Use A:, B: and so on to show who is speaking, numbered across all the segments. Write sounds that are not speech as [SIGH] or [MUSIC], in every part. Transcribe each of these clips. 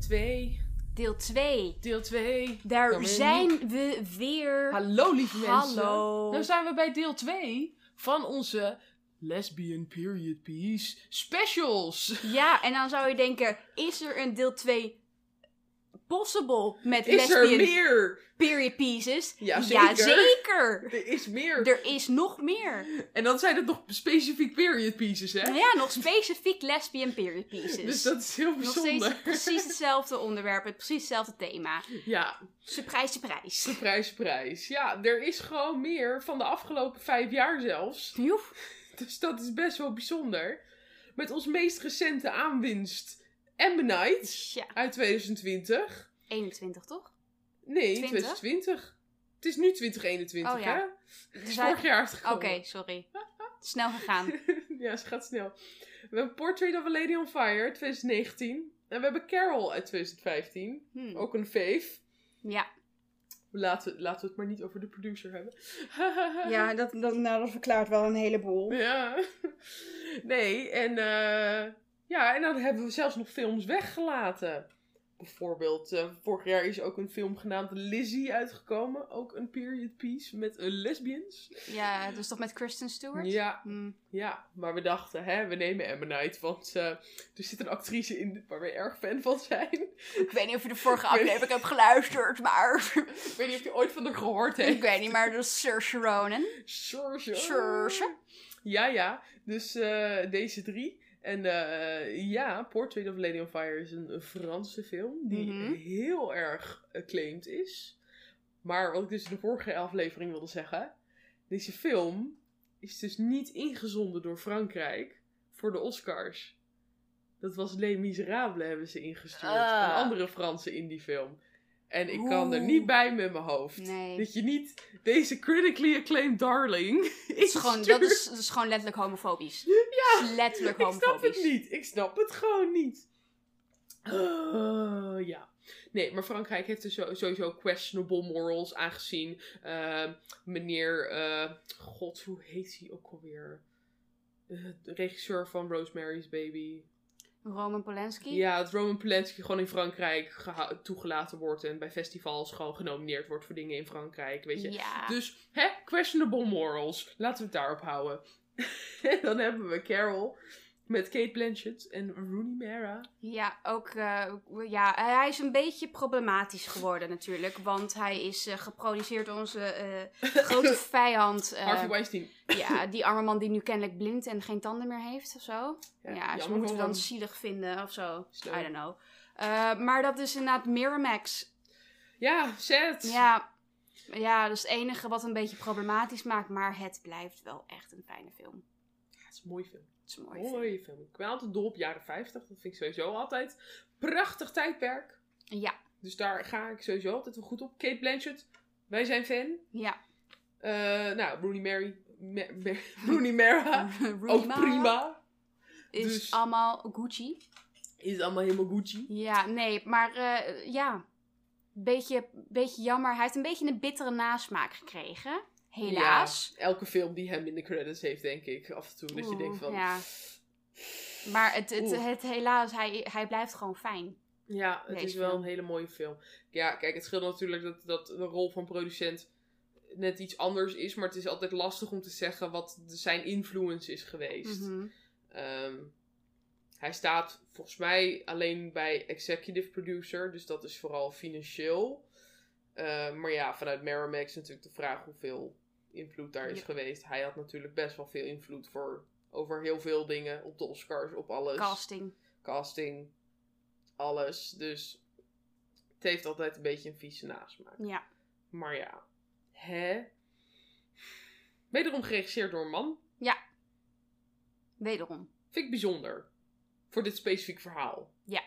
A: 2,
B: Deel 2.
A: deel 2.
B: Daar zijn we weer.
A: Hallo lieve mensen.
B: Hallo.
A: Nou zijn we bij deel 2 van onze Lesbian Period Piece specials.
B: Ja, en dan zou je denken, is er een deel 2 possible met
A: Is er
B: lesbian
A: meer?
B: period pieces?
A: Ja, zeker. [LAUGHS]
B: zeker.
A: Er is meer.
B: Er is nog meer. Nou
A: En dan zijn het nog specifiek period pieces, hè?
B: Ja, nog specifiek lesbian period pieces.
A: Dus dat is heel
B: nog steeds
A: bijzonder. [LAUGHS]
B: precies hetzelfde onderwerp, het precies hetzelfde thema.
A: Ja,
B: Surprise, surprise.
A: de prijs, prijs. Ja, er is gewoon meer van de afgelopen vijf jaar zelfs. [LAUGHS]
B: Joef.
A: Dus dat is best wel bijzonder. Met ons meest recente aanwinst, Amber Night
B: Ja,
A: uit 2020.
B: 21 toch?
A: Nee,
B: 20?
A: 2020. Het is nu 2021,
B: Oh ja.
A: hè?
B: Dus
A: Het is
B: hij-
A: vorig jaar het
B: Oké, sorry. Snel gegaan.
A: [LAUGHS] ja, ze gaat snel. We hebben Portrait of a Lady on Fire 2019. En we hebben Carol uit 2015.
B: Hm.
A: Ook een fave.
B: Ja.
A: Laten, we- laten we het maar niet over de producer hebben. [LAUGHS]
B: [LAUGHS] Ja, dat, dat, nou, dat verklaart wel een heleboel.
A: Ja. [LAUGHS] Nee, en, eh, ja, en dan hebben we zelfs nog films weggelaten. Bijvoorbeeld, eh, vorig jaar is ook een film genaamd Lizzie uitgekomen. Ook een period piece met eh, lesbians.
B: Ja, dus toch met Kristen Stewart?
A: Ja,
B: Hm.
A: ja, maar we dachten, hè, we nemen Emma Knight, want eh, er zit een actrice in waar we erg fan van zijn. [LAUGHS]
B: Ik weet niet of je de vorige
A: Ik weet-
B: aflevering hebt geluisterd, maar... [LAUGHS]
A: Ik weet niet of je ooit van haar gehoord
B: ik
A: hebt.
B: weet niet, maar dat is Saoirse Ronan.
A: Saoirse.
B: Saoirse.
A: Ja, ja. Dus eh, deze drie. En eh, ja, Portrait of a Lady on Fire is een Franse film die
B: Mhm.
A: heel erg acclaimed is. Maar wat ik dus in de vorige aflevering wilde zeggen. Deze film is dus niet ingezonden door Frankrijk voor de Oscars. Dat was Les Miserables hebben ze ingestuurd.
B: Ah.
A: Een andere Franse indiefilm. En ik kan er niet
B: Oeh.
A: bij met mijn hoofd.
B: Nee.
A: Dat je niet deze critically acclaimed darling. [LAUGHS]
B: Dat is, gewoon, dat, is, dat is gewoon letterlijk homofobisch. Ja. letterlijk
A: Ik snap
B: homofobisch.
A: het niet. Ik snap het gewoon niet. Eh, ja. Nee, maar Frankrijk heeft dus zo- sowieso questionable morals aangezien. eh, meneer, eh, god, hoe heet hij ook alweer? Eh, de regisseur van Rosemary's Baby.
B: Roman Polanski?
A: Ja, dat Roman Polanski gewoon in Frankrijk geha- toegelaten wordt en bij festivals gewoon genomineerd wordt voor dingen in Frankrijk, weet je.
B: Ja.
A: Dus, hè, questionable morals. Laten we het daarop houden. [LAUGHS] en dan hebben we Carol met Kate Blanchett en Rooney Mara.
B: Ja, ook, eh, ja, hij is een beetje problematisch geworden natuurlijk. Want hij is eh, geproduceerd door onze eh,
A: [LAUGHS]
B: grote vijand. eh,
A: Harvey Weinstein.
B: ja, die arme man die nu kennelijk blind en geen tanden meer heeft of zo. Ja,
A: jammer
B: ze moeten
A: voor
B: we dan
A: hem.
B: zielig vinden of zo. I
A: Sneu.
B: don't know. Eh, maar dat is inderdaad Miramax.
A: Ja, sad.
B: Ja, ja, dat is het enige wat een beetje problematisch maakt. Maar het blijft wel echt een fijne film.
A: Ja, het is een mooie film.
B: Het is een mooie film.
A: Mooie film. Ik ben altijd dol op jaren 50. Dat vind ik sowieso altijd. Prachtig tijdperk.
B: Ja,
A: Dus daar ga ik sowieso altijd wel goed op. Kate Blanchett, wij zijn fan.
B: ja.
A: Eh, nou, Rooney Mary. Ma- Ma- [LAUGHS] Rooney Mara. [LAUGHS] Ook
B: Rooney Mara
A: prima.
B: Is
A: dus-
B: allemaal Gucci.
A: Is allemaal helemaal Gucci.
B: Ja, nee, maar eh, ja. Beetje, beetje jammer. Hij heeft een beetje een bittere nasmaak gekregen. Helaas.
A: Ja, elke film die hem in de credits heeft, denk ik. Af en toe dat je
B: Oeh,
A: denkt van...
B: ja. Maar het, het,
A: Oeh.
B: het helaas, hij, hij blijft gewoon fijn.
A: Ja, het
B: Deze
A: is wel
B: film.
A: een hele mooie film. Ja, kijk, het scheelt natuurlijk dat, dat de rol van producent net iets anders is. Maar het is altijd lastig om te zeggen wat de- zijn influence is geweest.
B: Mhm.
A: Ehm, hij staat volgens mij alleen bij executive producer. Dus dat is vooral financieel. Ehm, maar ja, vanuit Merrimack is natuurlijk de vraag hoeveel invloed daar is
B: Ja.
A: geweest. Hij had natuurlijk best wel veel invloed voor, over heel veel dingen. Op de Oscars, op alles
B: Casting.
A: casting, alles. Dus het heeft altijd een beetje een vieze nasmaak.
B: Ja.
A: Maar ja, hè? Wederom geregisseerd door een man.
B: Wederom.
A: Vind ik bijzonder. Voor dit specifieke verhaal.
B: Ja.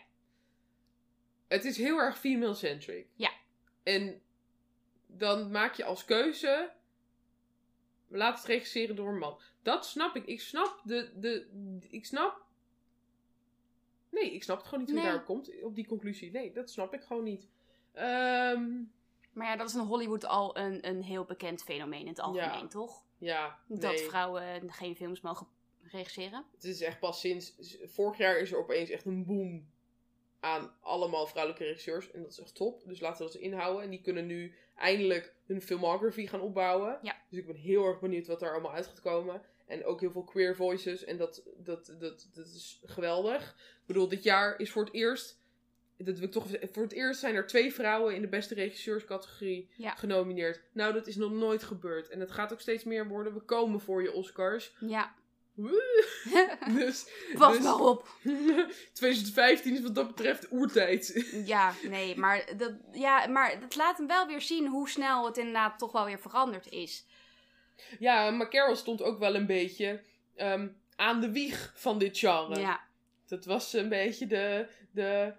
A: Het is heel erg female-centric.
B: Ja.
A: En dan maak je als keuze... Laat het regisseren door een man. Dat snap ik. Ik snap de... de ik snap... Nee, ik snap het gewoon niet hoe
B: Nee.
A: je daarop komt. Op die conclusie. Nee, dat snap ik gewoon niet. Ehm,
B: Maar ja, dat is in Hollywood al een, een heel bekend fenomeen in het algemeen,
A: Ja.
B: toch?
A: ja, nee.
B: Dat vrouwen geen films mogen regisseren.
A: Het is echt pas sinds... Vorig jaar is er opeens echt een boom aan allemaal vrouwelijke regisseurs. En dat is echt top. Dus laten we dat inhouden. En die kunnen nu eindelijk hun filmography gaan opbouwen.
B: Ja.
A: Dus ik ben heel erg benieuwd wat er allemaal uit gaat komen. En ook heel veel queer voices. En dat, dat, dat, dat is geweldig. Ik bedoel, dit jaar is voor het eerst. Dat wil ik toch, even- voor het eerst zijn er twee vrouwen in de beste regisseurscategorie
B: Ja.
A: genomineerd. Nou, dat is nog nooit gebeurd. En het gaat ook steeds meer worden. We komen voor je Oscars.
B: Ja.
A: Woe! Dus,
B: [LAUGHS] Pas
A: dus-
B: maar op. [LAUGHS]
A: 2015 is wat dat betreft oertijd.
B: Ja, nee, maar dat, ja, maar dat laat hem wel weer zien hoe snel het inderdaad toch wel weer veranderd is.
A: [LAUGHS] Ja, maar Carol stond ook wel een beetje ehm, aan de wieg van dit genre.
B: Ja,
A: Dat was een beetje de, de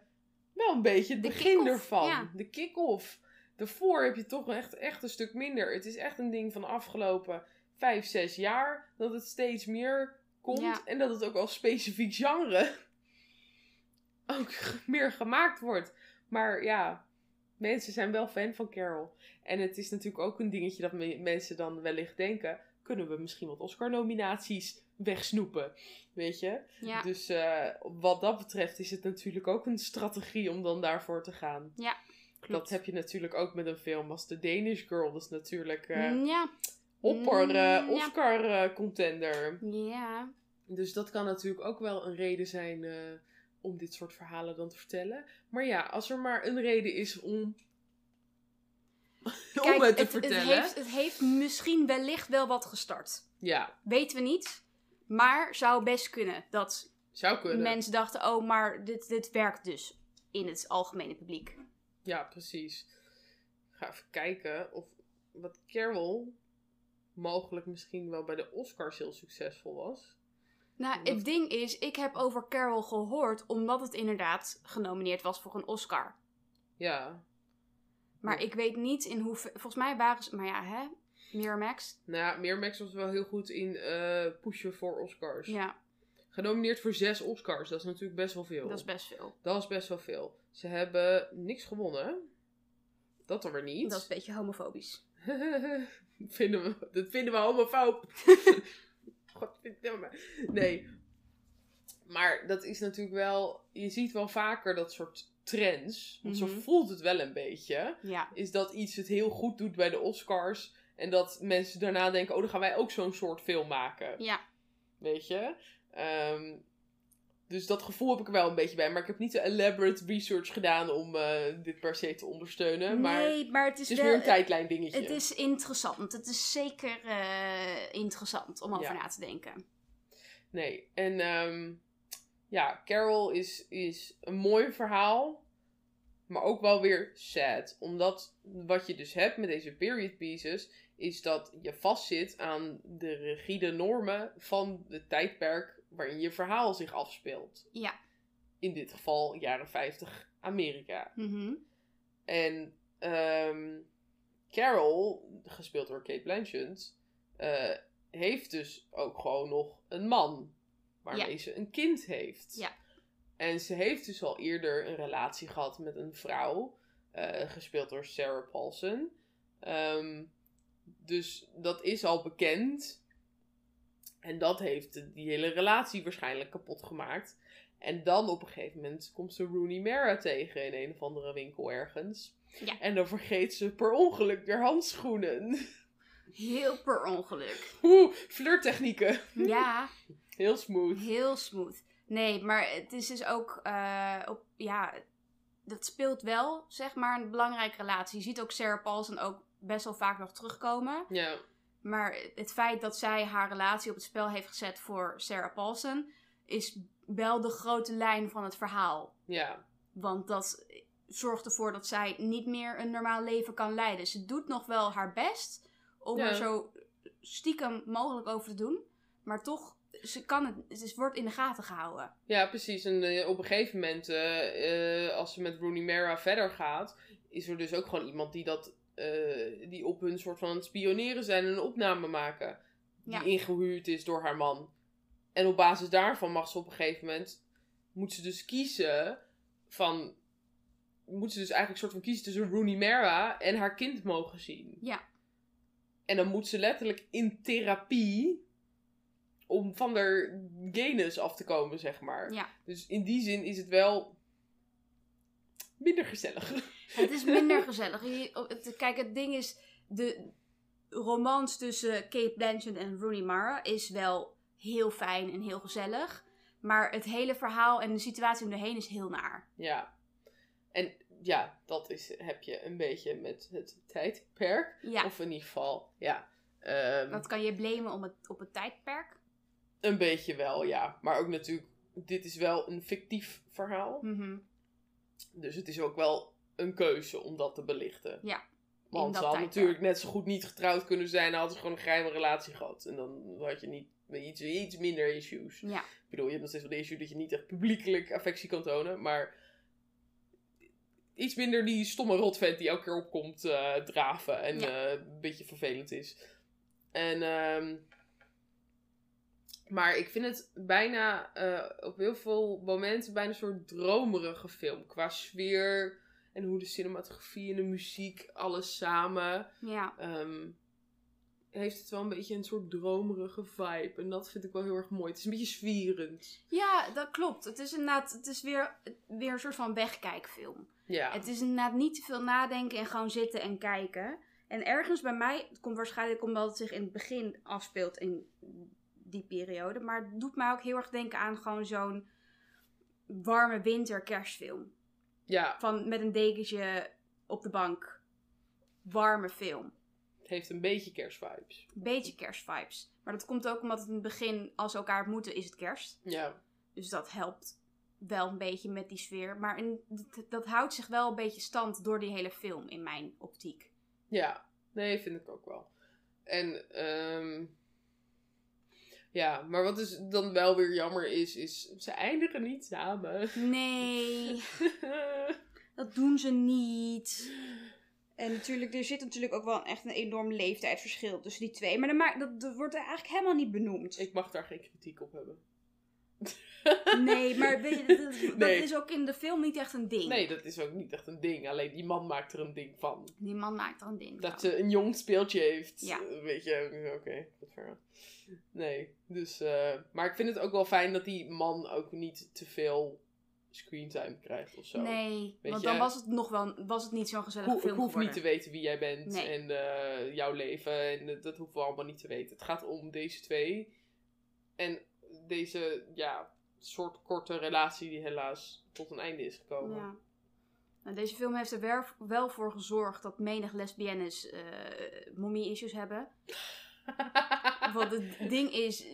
A: wel een beetje het
B: De
A: begin
B: kick-off,
A: ervan.
B: ja.
A: De kick-off. Daarvoor heb je toch echt, echt een stuk minder. Het is echt een ding van de afgelopen vijf, zes jaar. Dat het steeds meer komt.
B: Ja.
A: En dat het ook als specifiek genre [LAUGHS] ook [LAUGHS] meer gemaakt wordt. Maar ja, mensen zijn wel fan van Carol. En het is natuurlijk ook een dingetje dat me- mensen dan wellicht denken... kunnen we misschien wat Oscar-nominaties wegsnoepen, weet je?
B: ja.
A: Dus eh, wat dat betreft is het natuurlijk ook een strategie om dan daarvoor te gaan.
B: Ja,
A: Dat heb je natuurlijk ook met een film als The Danish Girl. Dat is natuurlijk eh
B: Mm, Ja,
A: opper eh,
B: Mm, ja.
A: Oscar eh, contender.
B: ja.
A: Dus dat kan natuurlijk ook wel een reden zijn eh, om dit soort verhalen dan te vertellen. Maar ja, als er maar een reden is om, [LAUGHS] om het te vertellen.
B: heeft, het heeft misschien wellicht wel wat gestart.
A: Ja,
B: Weten we niet. Maar zou best kunnen dat
A: zou kunnen.
B: mensen dachten: oh, maar dit, dit werkt dus in het algemene publiek.
A: Ja, precies. Ik ga even kijken of wat Carol mogelijk misschien wel bij de Oscars heel succesvol was.
B: Nou,
A: Dat-
B: het ding is, ik heb over Carol gehoord omdat het inderdaad genomineerd was voor een Oscar.
A: Ja,
B: Maar
A: Ja.
B: ik weet niet in hoeverre. Volgens mij waren ze. Maar ja, hè? Miramax.
A: nou ja, Miramax was wel heel goed in eh pushen voor Oscars.
B: Ja,
A: Genomineerd voor zes Oscars, dat is natuurlijk best wel veel.
B: dat is best veel.
A: Dat is best wel veel. Ze hebben niks gewonnen. Dat dan weer niet.
B: Dat is een beetje homofobisch.
A: [LAUGHS] vinden we, dat vinden we
B: [LAUGHS]
A: homofoob. Godverdomme. Nee. Maar dat is natuurlijk wel... Je ziet wel vaker dat soort trends. Want
B: Mhm.
A: zo voelt het wel een beetje.
B: Ja.
A: Is dat iets het heel goed doet bij de Oscars. En dat mensen daarna denken... Oh, dan gaan wij ook zo'n soort film maken.
B: Ja.
A: Weet je? Ehm, dus dat gevoel heb ik er wel een beetje bij. Maar ik heb niet de elaborate research gedaan om eh, dit per se te ondersteunen. Eh, Maar
B: nee, maar het is,
A: het is
B: wel.
A: meer een tijdlijn dingetje.
B: Het is interessant. Het is zeker eh, interessant om over
A: Ja.
B: na te denken.
A: Nee. En ehm, ja, Carol is, is een mooi verhaal. Maar ook wel weer sad. Omdat wat je dus hebt met deze period pieces. Is dat je vastzit aan de rigide normen van het tijdperk waarin je verhaal zich afspeelt.
B: Ja.
A: In dit geval jaren 50 Amerika.
B: Mhm.
A: En ehm, Carol, gespeeld door Kate Blanchett, eh, heeft dus ook gewoon nog een man waarmee ze een kind heeft.
B: Ja.
A: En ze heeft dus al eerder een relatie gehad met een vrouw, eh, gespeeld door Sarah Paulson. Ehm, dus dat is al bekend. En dat heeft de- die hele relatie waarschijnlijk kapot gemaakt. En dan op een gegeven moment komt ze Rooney Mara tegen in een of andere winkel ergens.
B: Ja.
A: En dan vergeet ze per ongeluk haar handschoenen.
B: Heel per
A: [LAUGHS]
B: ongeluk.
A: Oeh, flirttechnieken.
B: Ja,
A: Heel smooth.
B: heel smooth. Nee, maar het is dus ook, eh, op, ja, dat speelt wel, zeg maar, een belangrijke relatie. Je ziet ook Sarah Paulson ook best wel vaak nog terugkomen.
A: Ja,
B: Maar het feit dat zij haar relatie op het spel heeft gezet voor Sarah Paulson, is wel de grote lijn van het verhaal.
A: ja,
B: Want dat zorgt ervoor dat zij niet meer een normaal leven kan leiden. Ze doet nog wel haar best om
A: Ja.
B: er zo stiekem mogelijk over te doen. Maar toch, ze, kan het, ze wordt in de gaten gehouden.
A: ja, precies. En eh, op een gegeven moment, eh, eh, als ze met Rooney Mara verder gaat, is er dus ook gewoon iemand die, dat, eh, die op hun soort van aan het spioneren zijn en een opname maken. Die
B: Ja.
A: ingehuurd is door haar man. En op basis daarvan mag ze op een gegeven moment, moet ze dus kiezen van, moet ze dus eigenlijk soort van kiezen tussen Rooney Mara en haar kind mogen zien.
B: Ja.
A: En dan moet ze letterlijk in therapie om van haar genus af te komen, zeg maar.
B: Ja.
A: Dus in die zin is het wel minder gezellig.
B: Het is
A: [LAUGHS]
B: minder gezellig. Je- oh, het- Kijk, het ding is, de romans tussen Kate Blanchett en Rooney Mara is wel heel fijn en heel gezellig. Maar het hele verhaal en de situatie om erheen is heel naar.
A: Ja. En ja, dat is, heb je een beetje met het tijdperk.
B: Ja,
A: Of in ieder geval, ja. ehm,
B: dat kan je blamen om het, op het tijdperk.
A: Een beetje wel, ja. Maar ook natuurlijk, dit is wel een fictief verhaal.
B: Mhm.
A: Dus het is ook wel een keuze om dat te belichten.
B: Ja, in
A: Want
B: dat
A: ze hadden
B: tijdperk.
A: natuurlijk net zo goed niet getrouwd kunnen zijn. Dan hadden ze gewoon een geheime relatie gehad. En dan had je niet, iets, iets minder issues.
B: Ja.
A: Ik bedoel, je hebt nog steeds wel de issue dat je niet echt publiekelijk affectie kan tonen. Maar iets minder die stomme rotvent die elke keer opkomt eh, draven. En
B: Ja.
A: eh, een beetje vervelend is. En, ehm, maar ik vind het bijna eh, op heel veel momenten bijna een soort dromerige film. Qua sfeer en hoe de cinematografie en de muziek, alles samen.
B: Ja,
A: ehm, heeft het wel een beetje een soort dromerige vibe. En dat vind ik wel heel erg mooi. Het is een beetje zwierend.
B: ja dat klopt. Het is inderdaad, het is weer, weer een soort van wegkijkfilm.
A: Ja.
B: Het is inderdaad niet te veel nadenken en gewoon zitten en kijken. En ergens bij mij, het komt waarschijnlijk omdat het zich in het begin afspeelt in die periode. Maar het doet mij ook heel erg denken aan gewoon zo'n warme winter kerstfilm.
A: Ja,
B: Van met een dekentje op de bank. Warme film.
A: het heeft een beetje kerstvibes.
B: Beetje kerstvibes. Maar dat komt ook omdat het in het begin, als ze elkaar ontmoeten, is het kerst.
A: Ja.
B: Dus dat helpt wel een beetje met die sfeer. Maar in- dat, dat houdt zich wel een beetje stand door die hele film in mijn optiek.
A: Ja. Nee, vind ik ook wel. En, ehm Ja, maar wat dus dan wel weer jammer is, is ze eindigen niet samen.
B: Nee, dat doen ze niet. En natuurlijk, er zit natuurlijk ook wel echt een enorm leeftijdsverschil tussen die twee. Maar dat, maakt- dat, dat wordt eigenlijk helemaal niet benoemd.
A: ik mag daar geen kritiek op hebben.
B: Nee, maar weet je, dat, dat
A: Nee.
B: is ook in de film niet echt een ding.
A: Nee, dat is ook niet echt een ding. Alleen die man maakt er een ding van.
B: Die man maakt er een ding
A: Dat eh,
B: van.
A: ze een jong speeltje heeft.
B: Ja.
A: Eh, Weet je, oké. goed verhaal. nee, dus... eh, maar ik vind het ook wel fijn dat die man ook niet te veel screentime krijgt of zo.
B: nee,
A: Weet
B: want
A: je-
B: dan was het nog wel was het niet zo'n gezellige
A: Hoe- ik
B: film
A: hoef niet te
B: geworden.
A: weten wie jij bent
B: Nee.
A: en eh, jouw leven. En eh, dat- dat hoeven we allemaal niet te weten. Het gaat om deze twee. En deze, ja, soort korte relatie die helaas tot een einde is gekomen.
B: Ja. Nou, deze film heeft er wel, wel voor gezorgd dat menig lesbiennes eh mommy-issues
A: [LAUGHS]
B: hebben. Want het ding is, eh,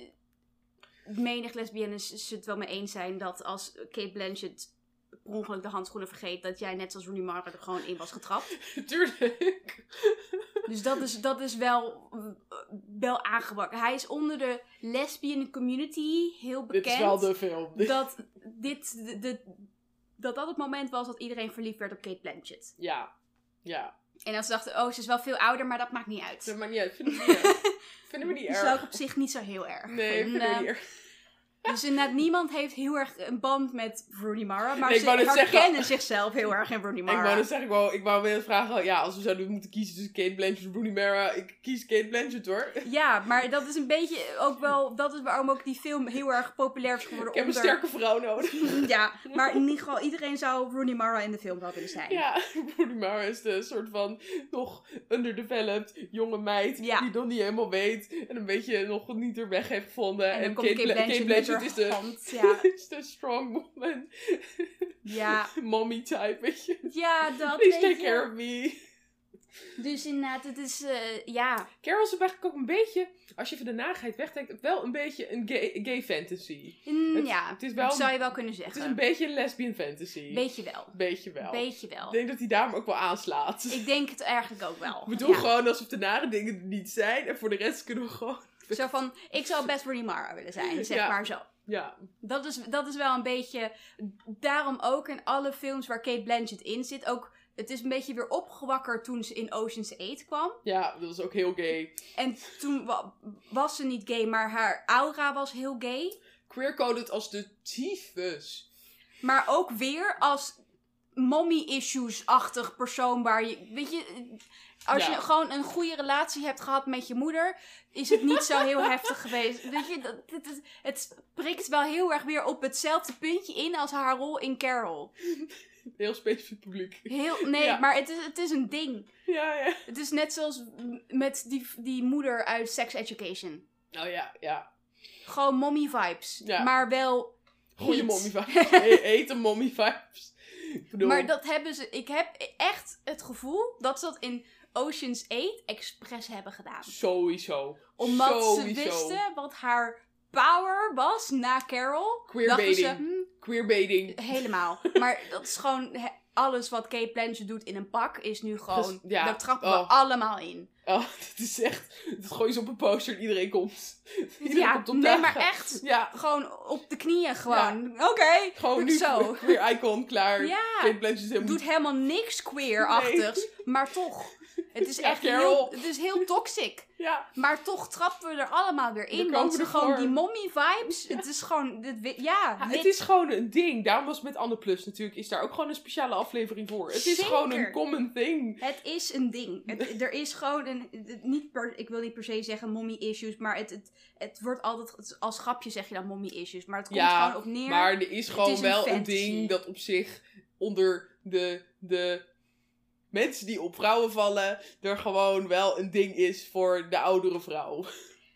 B: menig lesbiennes ze het wel mee eens zijn dat als Kate Blanchett per ongeluk de handschoenen vergeet, dat jij net als Rooney Mara er gewoon in was getrapt.
A: [LAUGHS] Tuurlijk.
B: Dus dat is, dat is wel, eh, wel aangebakken. Hij is onder de lesbian community heel bekend.
A: Dit is wel de film.
B: dat, dit, de, de- dat dat het moment was dat iedereen verliefd werd op Kate Blanchett.
A: Ja,
B: [LAUGHS]
A: ja.
B: En dat ze dachten, oh, ze is wel veel ouder, maar dat maakt niet
A: Zeg
B: [LAUGHS] uit.
A: maar niet uit. Vinden we niet erg. Vinden we niet
B: Dat is
A: erg.
B: ook op zich niet zo heel erg.
A: Nee,
B: En,
A: vinden we
B: eh,
A: niet erg.
B: Dus inderdaad, niemand heeft heel erg een band met Rooney Mara. Maar
A: Nee, ik
B: ze
A: wou net
B: herkennen
A: zeggen-
B: zichzelf heel erg in Rooney
A: Ik
B: Mara.
A: wou dus zeggen, ik wou, ik wou willen vragen, ja, als we zouden moeten kiezen tussen Kate Blanchett en Rooney Mara, ik kies Kate Blanchett hoor.
B: Ja, maar dat is een beetje ook wel... Dat is waarom ook die film heel erg populair is geworden
A: Ik heb een
B: onder...
A: sterke vrouw nodig.
B: [LAUGHS] Ja, maar in ieder geval iedereen zou Rooney Mara in de film wel willen zijn.
A: [LAUGHS] Ja, Rooney Mara is de soort van nog underdeveloped jonge meid
B: Ja.
A: die nog niet helemaal weet en een beetje nog niet haar weg heeft gevonden.
B: En dan komt Kate
A: Bla-
B: Blanchett, met
A: is
B: haar
A: [LAUGHS] de,
B: hand. Ja,
A: is de strong woman,
B: ja,
A: [LAUGHS] mommy type, weet je.
B: ja dat
A: Please
B: weet
A: take
B: je.
A: care of me.
B: Dus inderdaad, het is... eh, ja,
A: Carol is eigenlijk ook een beetje, als je van de narigheid wegdenkt, wel een beetje een gay, gay fantasy.
B: Mm,
A: Het-
B: ja,
A: het is wel-
B: dat zou je wel kunnen
A: Het
B: zeggen.
A: is een beetje een lesbian fantasy.
B: beetje wel.
A: Beetje wel.
B: Beetje wel.
A: Ik denk dat hij daarom ook wel aanslaat.
B: Ik denk het eigenlijk ook wel.
A: We doen
B: Oh, Ja.
A: gewoon alsof de nare dingen er niet zijn en voor de rest kunnen we gewoon...
B: Zo van, ik zou best Rooney Mara willen zijn, zeg
A: Ja.
B: maar zo.
A: Ja,
B: Dat is, dat is wel een beetje... Daarom ook in alle films waar Kate Blanchett in zit, ook... Het is een beetje weer opgewakkerd toen ze in Ocean's 8 kwam.
A: ja, dat is ook heel gay.
B: En toen wa- was ze niet gay, maar haar aura was heel gay.
A: Queercoded als de tyfus.
B: Maar ook weer als mommy-issues-achtig persoon waar je... Weet je, als
A: Ja.
B: je gewoon een goede relatie hebt gehad met je moeder, is het niet zo
A: [LAUGHS]
B: heel heftig geweest. Weet je, dat, dit is- het prikt wel heel erg weer op hetzelfde puntje in als haar rol in Carol.
A: Heel specifiek publiek.
B: Heel, nee,
A: Ja.
B: maar het is, het is een ding.
A: Ja, ja.
B: Het is net zoals met die, die moeder uit Sex Education.
A: Oh ja, ja.
B: Gewoon mommy vibes.
A: Ja.
B: Maar wel.
A: Goede
B: heat.
A: mommy vibes. He- Hete mommy vibes. Ik bedoel,
B: Maar dat hebben ze. Ik heb echt het gevoel dat ze dat in Ocean's 8 expres hebben gedaan.
A: sowieso.
B: Omdat ze
A: Sowieso.
B: wisten wat haar power was na Carol. Dachten ze,
A: Queerbaiting.
B: hm,
A: Queerbaiting. [LAUGHS]
B: helemaal. maar dat is gewoon. he- alles wat Kate Blanchett doet in een pak is nu gewoon.
A: Dus- ja.
B: Daar trappen we
A: Oh.
B: allemaal in.
A: Oh, [LAUGHS] dit is echt... Dat gooi je op een poster en iedereen komt. Iedereen
B: ja,
A: komt op
B: nee,
A: dagen.
B: maar echt.
A: Ja,
B: Gewoon op de knieën gewoon. Oké.
A: gewoon nu
B: Zo.
A: weer icon klaar.
B: Ja.
A: Kate Blanchett is helemaal
B: doet helemaal niks queer-achtigs, maar toch. Het is
A: [LAUGHS] Ja,
B: echt
A: Carol.
B: heel, het is heel toxic.
A: Ja,
B: Maar toch trappen we er allemaal weer in.
A: We
B: want
A: komen
B: ze
A: er
B: gewoon
A: voor.
B: die mommy-vibes. Het is gewoon... Dit, wi- ja,
A: Ja,
B: Ah, dit-
A: het is gewoon een ding. Daarom was het met Anne Plus natuurlijk, is daar ook gewoon een speciale aflevering voor. Het is
B: Zeker.
A: gewoon een common thing.
B: het is een ding. Het- er is gewoon een... het- niet per- ik wil niet per se zeggen mommy-issues, maar het, het, het wordt altijd... Als grapje zeg je dan mommy-issues, maar het komt
A: Ja,
B: gewoon op neer.
A: Maar er is gewoon
B: is een
A: wel een
B: fantasy.
A: ding dat op zich onder de, de mensen die op vrouwen vallen, er gewoon wel een ding is voor de oudere vrouw.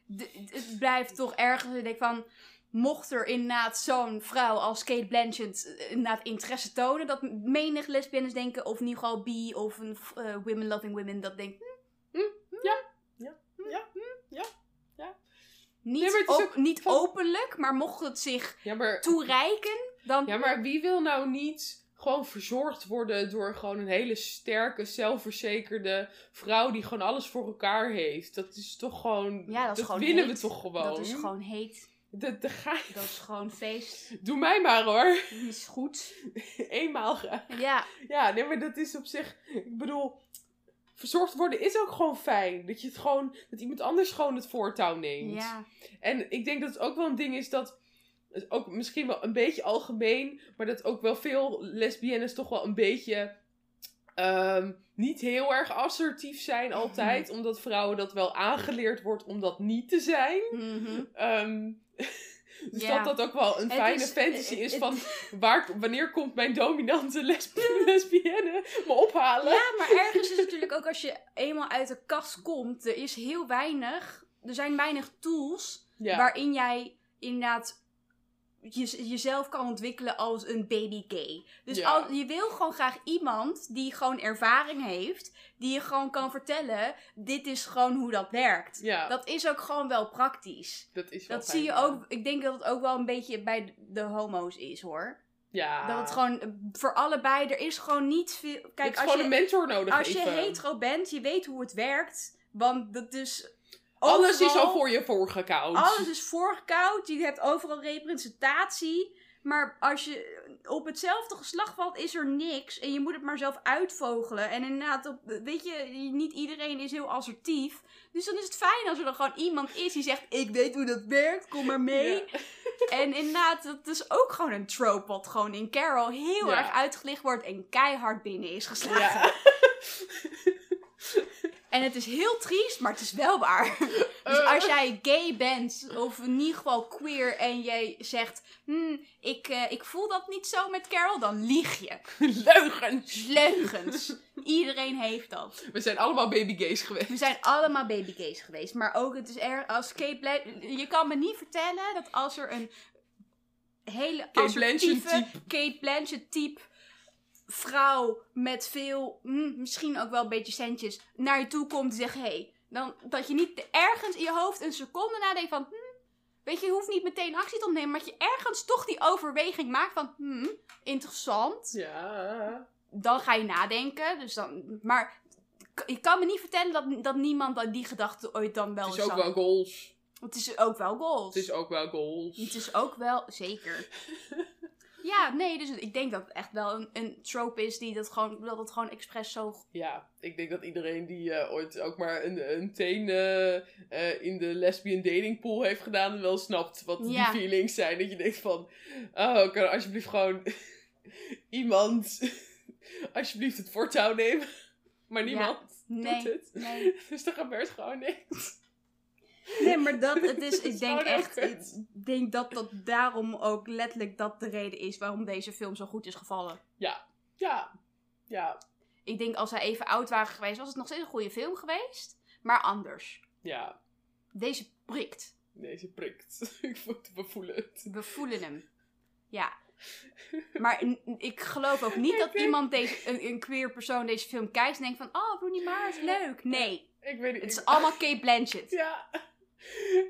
B: de- het blijft toch ergens. Ik denk van. Mocht er inderdaad zo'n vrouw als Kate Blanchett eh, inderdaad interesse tonen, dat menig lesbiennes denken, of in ieder geval bi, of een eh, women loving women, dat denkt. hm, hm, hm,
A: Ja,
B: hm,
A: ja,
B: hm,
A: ja,
B: hm.
A: ja, ja.
B: Niet,
A: Nee, maar het is
B: op-
A: ook
B: niet
A: van-
B: openlijk, maar mocht het zich
A: Ja, maar
B: toereiken, dan.
A: Ja, maar wie wil nou niet gewoon verzorgd worden door gewoon een hele sterke, zelfverzekerde vrouw die gewoon alles voor elkaar heeft? Dat is toch gewoon.
B: Ja, dat is gewoon
A: winnen
B: heet.
A: we toch gewoon.
B: Dat is gewoon heet.
A: Dat, dat ga je.
B: Dat is gewoon feest.
A: Doe mij maar hoor. [LAUGHS]
B: Dat is goed.
A: Eenmaal graag.
B: Ja,
A: Ja, nee, maar dat is op zich. Ik bedoel, verzorgd worden is ook gewoon fijn. Dat je het gewoon. Dat iemand anders gewoon het voortouw neemt.
B: ja.
A: En ik denk dat het ook wel een ding is dat. is Ook misschien wel een beetje algemeen, maar dat ook wel veel lesbiennes toch wel een beetje. ehm, niet heel erg assertief
B: [LAUGHS]
A: zijn altijd, omdat vrouwen dat wel aangeleerd wordt om dat niet te zijn.
B: Mhm.
A: Ehm, [LAUGHS] dus
B: Ja.
A: dat dat ook wel een
B: Het
A: fijne
B: is-
A: fantasy
B: het-
A: is
B: het-
A: van waar, wanneer komt mijn dominante lesb- [LAUGHS] lesbienne me ophalen?
B: Ja, maar ergens is het natuurlijk ook als je eenmaal uit de kast komt, er is heel weinig, er zijn weinig tools
A: Ja.
B: waarin jij inderdaad je, jezelf kan ontwikkelen als een baby gay. Dus
A: Ja.
B: al- je wil gewoon graag iemand die gewoon ervaring heeft, die je gewoon kan vertellen, dit is gewoon hoe dat werkt.
A: Ja, dat,
B: Dat is ook gewoon wel praktisch.
A: is wel
B: Dat
A: fijn,
B: zie je
A: ja.
B: ook, ik denk dat het ook wel een beetje bij de homo's is hoor.
A: Ja.
B: Dat het gewoon eh, voor allebei, er is gewoon niet veel. Kijk,
A: Kijk,
B: als
A: gewoon
B: je,
A: een mentor nodig
B: als je
A: even.
B: hetero bent, je weet hoe het werkt. Want dat is.
A: Alles is
B: overal-
A: al voor je voorgekoud.
B: Alles is voorgekoud. Je hebt overal representatie. Maar als je op hetzelfde geslacht valt, is er niks. En je moet het maar zelf uitvogelen. En inderdaad, op, weet je, niet iedereen is heel assertief. Dus dan is het fijn als er dan gewoon iemand is die zegt: Ik weet hoe dat werkt, kom maar mee. [LAUGHS]
A: Ja.
B: En inderdaad, dat is ook gewoon een trope wat gewoon in Carol heel
A: Ja.
B: erg uitgelicht wordt en keihard binnen is geslagen.
A: Ja.
B: En het is heel triest, maar het is wel waar. [LAUGHS] Dus
A: Eh.
B: als jij gay bent, of in ieder geval queer, en jij zegt: "Hmm, ik, eh, ik voel dat niet zo met Carol, dan lieg je.
A: [LAUGHS] Leugens.
B: Het is leugens. Iedereen heeft dat.
A: We zijn allemaal baby gays geweest.
B: We zijn allemaal babygays geweest, maar ook het is erg als Kate Blan- Je kan me niet vertellen dat als er een hele
A: Kate
B: assertieve
A: Blanchett
B: Kate Blanchett type vrouw met veel, mm, misschien ook wel een beetje centjes, naar je toe komt en zegt hey, dan dat je niet ergens in je hoofd een seconde nadenkt van, hmm, weet je, je hoeft niet meteen actie te ondernemen, maar dat je ergens toch die overweging maakt van, hmm, interessant
A: Ja.
B: dan ga je nadenken. Dus dan, maar k- ik kan me niet vertellen dat, dat niemand dan die gedachte ooit dan wel
A: Het is
B: eens
A: ook
B: had.
A: wel goals.
B: Het is ook wel goals.
A: Het is ook wel goals.
B: Het is ook wel,
A: [LAUGHS]
B: zeker. ja, nee, dus ik denk dat het echt wel een, een trope is die dat gewoon, dat het gewoon expres zo...
A: Ja, ik denk dat iedereen die eh, ooit ook maar een, een teen eh, eh, in de lesbian dating pool heeft gedaan, wel snapt wat
B: Ja.
A: die feelings zijn. Dat je denkt van, oh, kan er alsjeblieft gewoon [LAUGHS] iemand [LAUGHS] alsjeblieft het voortouw nemen. [LAUGHS] Maar
B: Ja,
A: niemand
B: nee,
A: doet het. [LAUGHS]
B: nee.
A: Dus er gebeurt gewoon niks.
B: Nee, maar dat, het is,
A: Het
B: ik
A: is
B: denk
A: gewoon heel
B: echt,
A: kut.
B: ik denk dat dat daarom ook letterlijk dat de reden is waarom deze film zo goed is gevallen.
A: Ja, ja,
B: Ik denk als zij even oud waren geweest, was het nog steeds een goede film geweest, maar anders.
A: ja.
B: Deze prikt.
A: Deze prikt. [LAUGHS] Ik voel het, we voelen het.
B: We voelen hem. Ja. Maar n- n- ik geloof ook niet dat
A: Oké.
B: iemand, deze, een, een queer persoon, deze film kijkt en denkt van, oh, Rooney Mara is leuk. Nee,
A: Ik weet niet.
B: het
A: ik-
B: is allemaal Kate Blanchett.
A: [LAUGHS] Ja.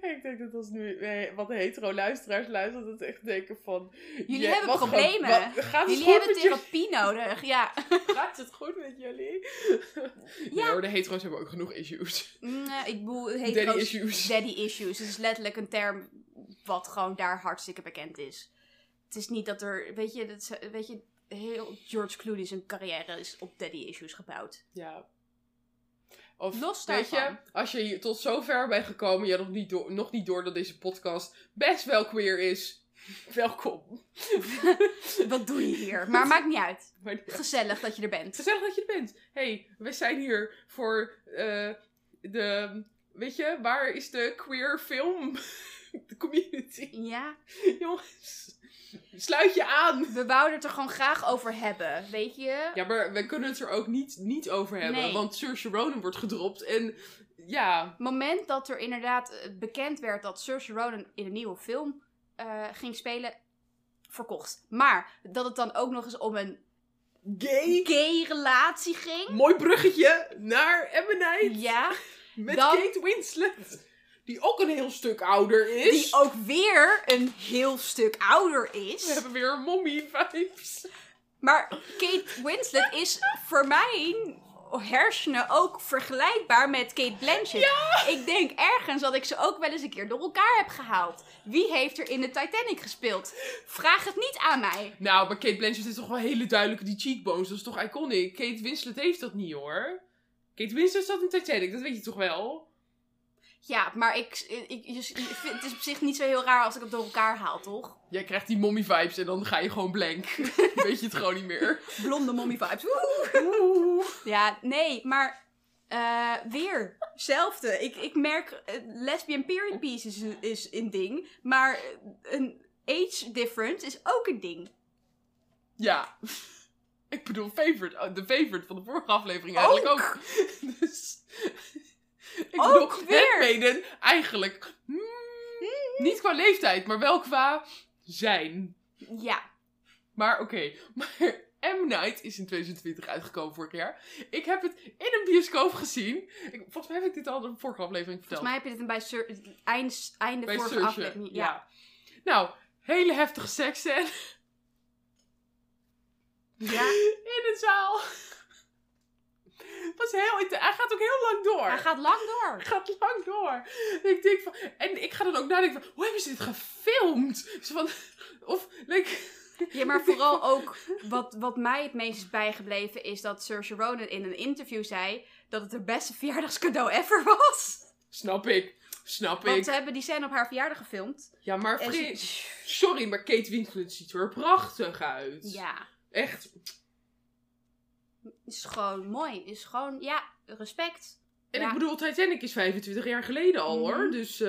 A: Ik denk dat als nu eh, wat hetero luisteraars luisteren, dat ze echt denken van...
B: Jullie
A: je-
B: hebben
A: wacht, wat-
B: problemen.
A: wat- gaat het
B: Jullie
A: goed
B: hebben
A: met jullie?
B: therapie nodig, ja.
A: Gaat het goed met jullie?
B: [LAUGHS] Ja.
A: Nee hoor, de hetero's hebben ook genoeg issues.
B: Mm, eh, ik bedoel, het heet
A: Daddy
B: ook-
A: issues.
B: Daddy issues. Het is letterlijk een term wat gewoon daar hartstikke bekend is. Het is niet dat er, weet je, dat, ze- weet je heel George Clooney zijn carrière is op daddy issues gebouwd.
A: Ja. Of,
B: Los
A: weet je,
B: daarvan.
A: als je hier tot zover bent gekomen, je hebt nog niet, door, nog niet door dat deze podcast best wel queer is. Welkom.
B: Wat doe je hier? Maar maakt niet
A: [LAUGHS]
B: uit.
A: Maar ja.
B: Gezellig dat je er
A: [LAUGHS]
B: bent.
A: Gezellig dat je er bent. hey, we zijn hier voor eh, de. Weet je, waar is de queer film? [LAUGHS] De community.
B: Ja,
A: Jongens, sluit je aan.
B: we wouden het er gewoon graag over hebben, weet je?
A: Ja, maar we kunnen het er ook niet, niet over hebben.
B: Nee.
A: Want Saoirse Ronan wordt gedropt. En ja,
B: moment dat er inderdaad eh, bekend werd dat Saoirse Ronan in een nieuwe film eh, ging spelen, verkocht. Maar dat het dan ook nog eens om een
A: gay.
B: gay relatie ging.
A: Mooi bruggetje naar Ebonite
B: Ja,
A: met
B: dan-
A: Kate Winslet. Die ook een heel stuk ouder is.
B: die ook weer een heel stuk ouder
A: We
B: is.
A: hebben weer mommy vibes.
B: Maar Kate Winslet is voor mijn hersenen ook vergelijkbaar met Kate Blanchett. Ik denk ergens dat ik ze ook wel eens een keer door elkaar heb gehaald. Wie heeft er in de Titanic gespeeld? Vraag het niet aan mij.
A: Nou, maar Kate Blanchett is toch wel hele duidelijk die cheekbones. Dat is toch iconic? Kate Winslet heeft dat niet hoor. Kate Winslet zat in Titanic, dat weet je toch wel?
B: Ja, maar ik, ik, je- je vindt- het is op zich niet zo heel raar als ik het door elkaar haal, toch?
A: Jij krijgt die mommy vibes en dan ga je gewoon blank. weet je het gewoon niet meer.
B: Blonde mommy vibes. Woehoe. Ja, nee, maar eh, weer. Hetzelfde. Ik, ik merk, eh, lesbian period piece is, een- is een ding, maar eh, een age difference is ook een ding.
A: ja. [LAUGHS] Ik bedoel, favorite, oh, de favorite van de vorige aflevering eigenlijk ook. [LAUGHS] Dus, ik
B: Ook
A: bedoel,
B: weer.
A: Handmaiden eigenlijk. mm, Niet qua leeftijd, maar wel qua zijn.
B: Ja,
A: Maar oké, [LAUGHS] maar M. Night is in 2020 uitgekomen vorig jaar. Ik heb het in een bioscoop gezien. Ik, volgens mij heb ik dit al in de vorige aflevering verteld.
B: volgens mij heb je dit bij Sur- het eind, einde vorige
A: Searcher,
B: aflevering. Ja.
A: Nou, hele heftige seksscène
B: Ja.
A: [LAUGHS] in een zaal. Was heel, int- hij gaat ook heel lang door.
B: Hij gaat lang door.
A: Hij gaat lang door. En ik denk van, en ik ga dan ook nadenken van, hoe hebben ze dit gefilmd? Zo van, [LAUGHS] of, like, [LAUGHS]
B: Ja, maar vooral ook wat, wat mij het meest is bijgebleven is dat Saoirse Ronan in een interview zei dat het haar beste verjaardagscadeau ever was.
A: snap ik, snap
B: Want
A: ik.
B: ze hebben die scène op haar verjaardag gefilmd.
A: Ja, maar
B: En
A: Frits.
B: ze-
A: Sorry, maar Kate Winslet ziet er prachtig uit.
B: Ja,
A: Echt.
B: is gewoon mooi. Is gewoon, ja, respect.
A: En
B: Ja.
A: ik bedoel, Titanic is 25 jaar geleden al hoor.
B: Mhm.
A: Dus eh,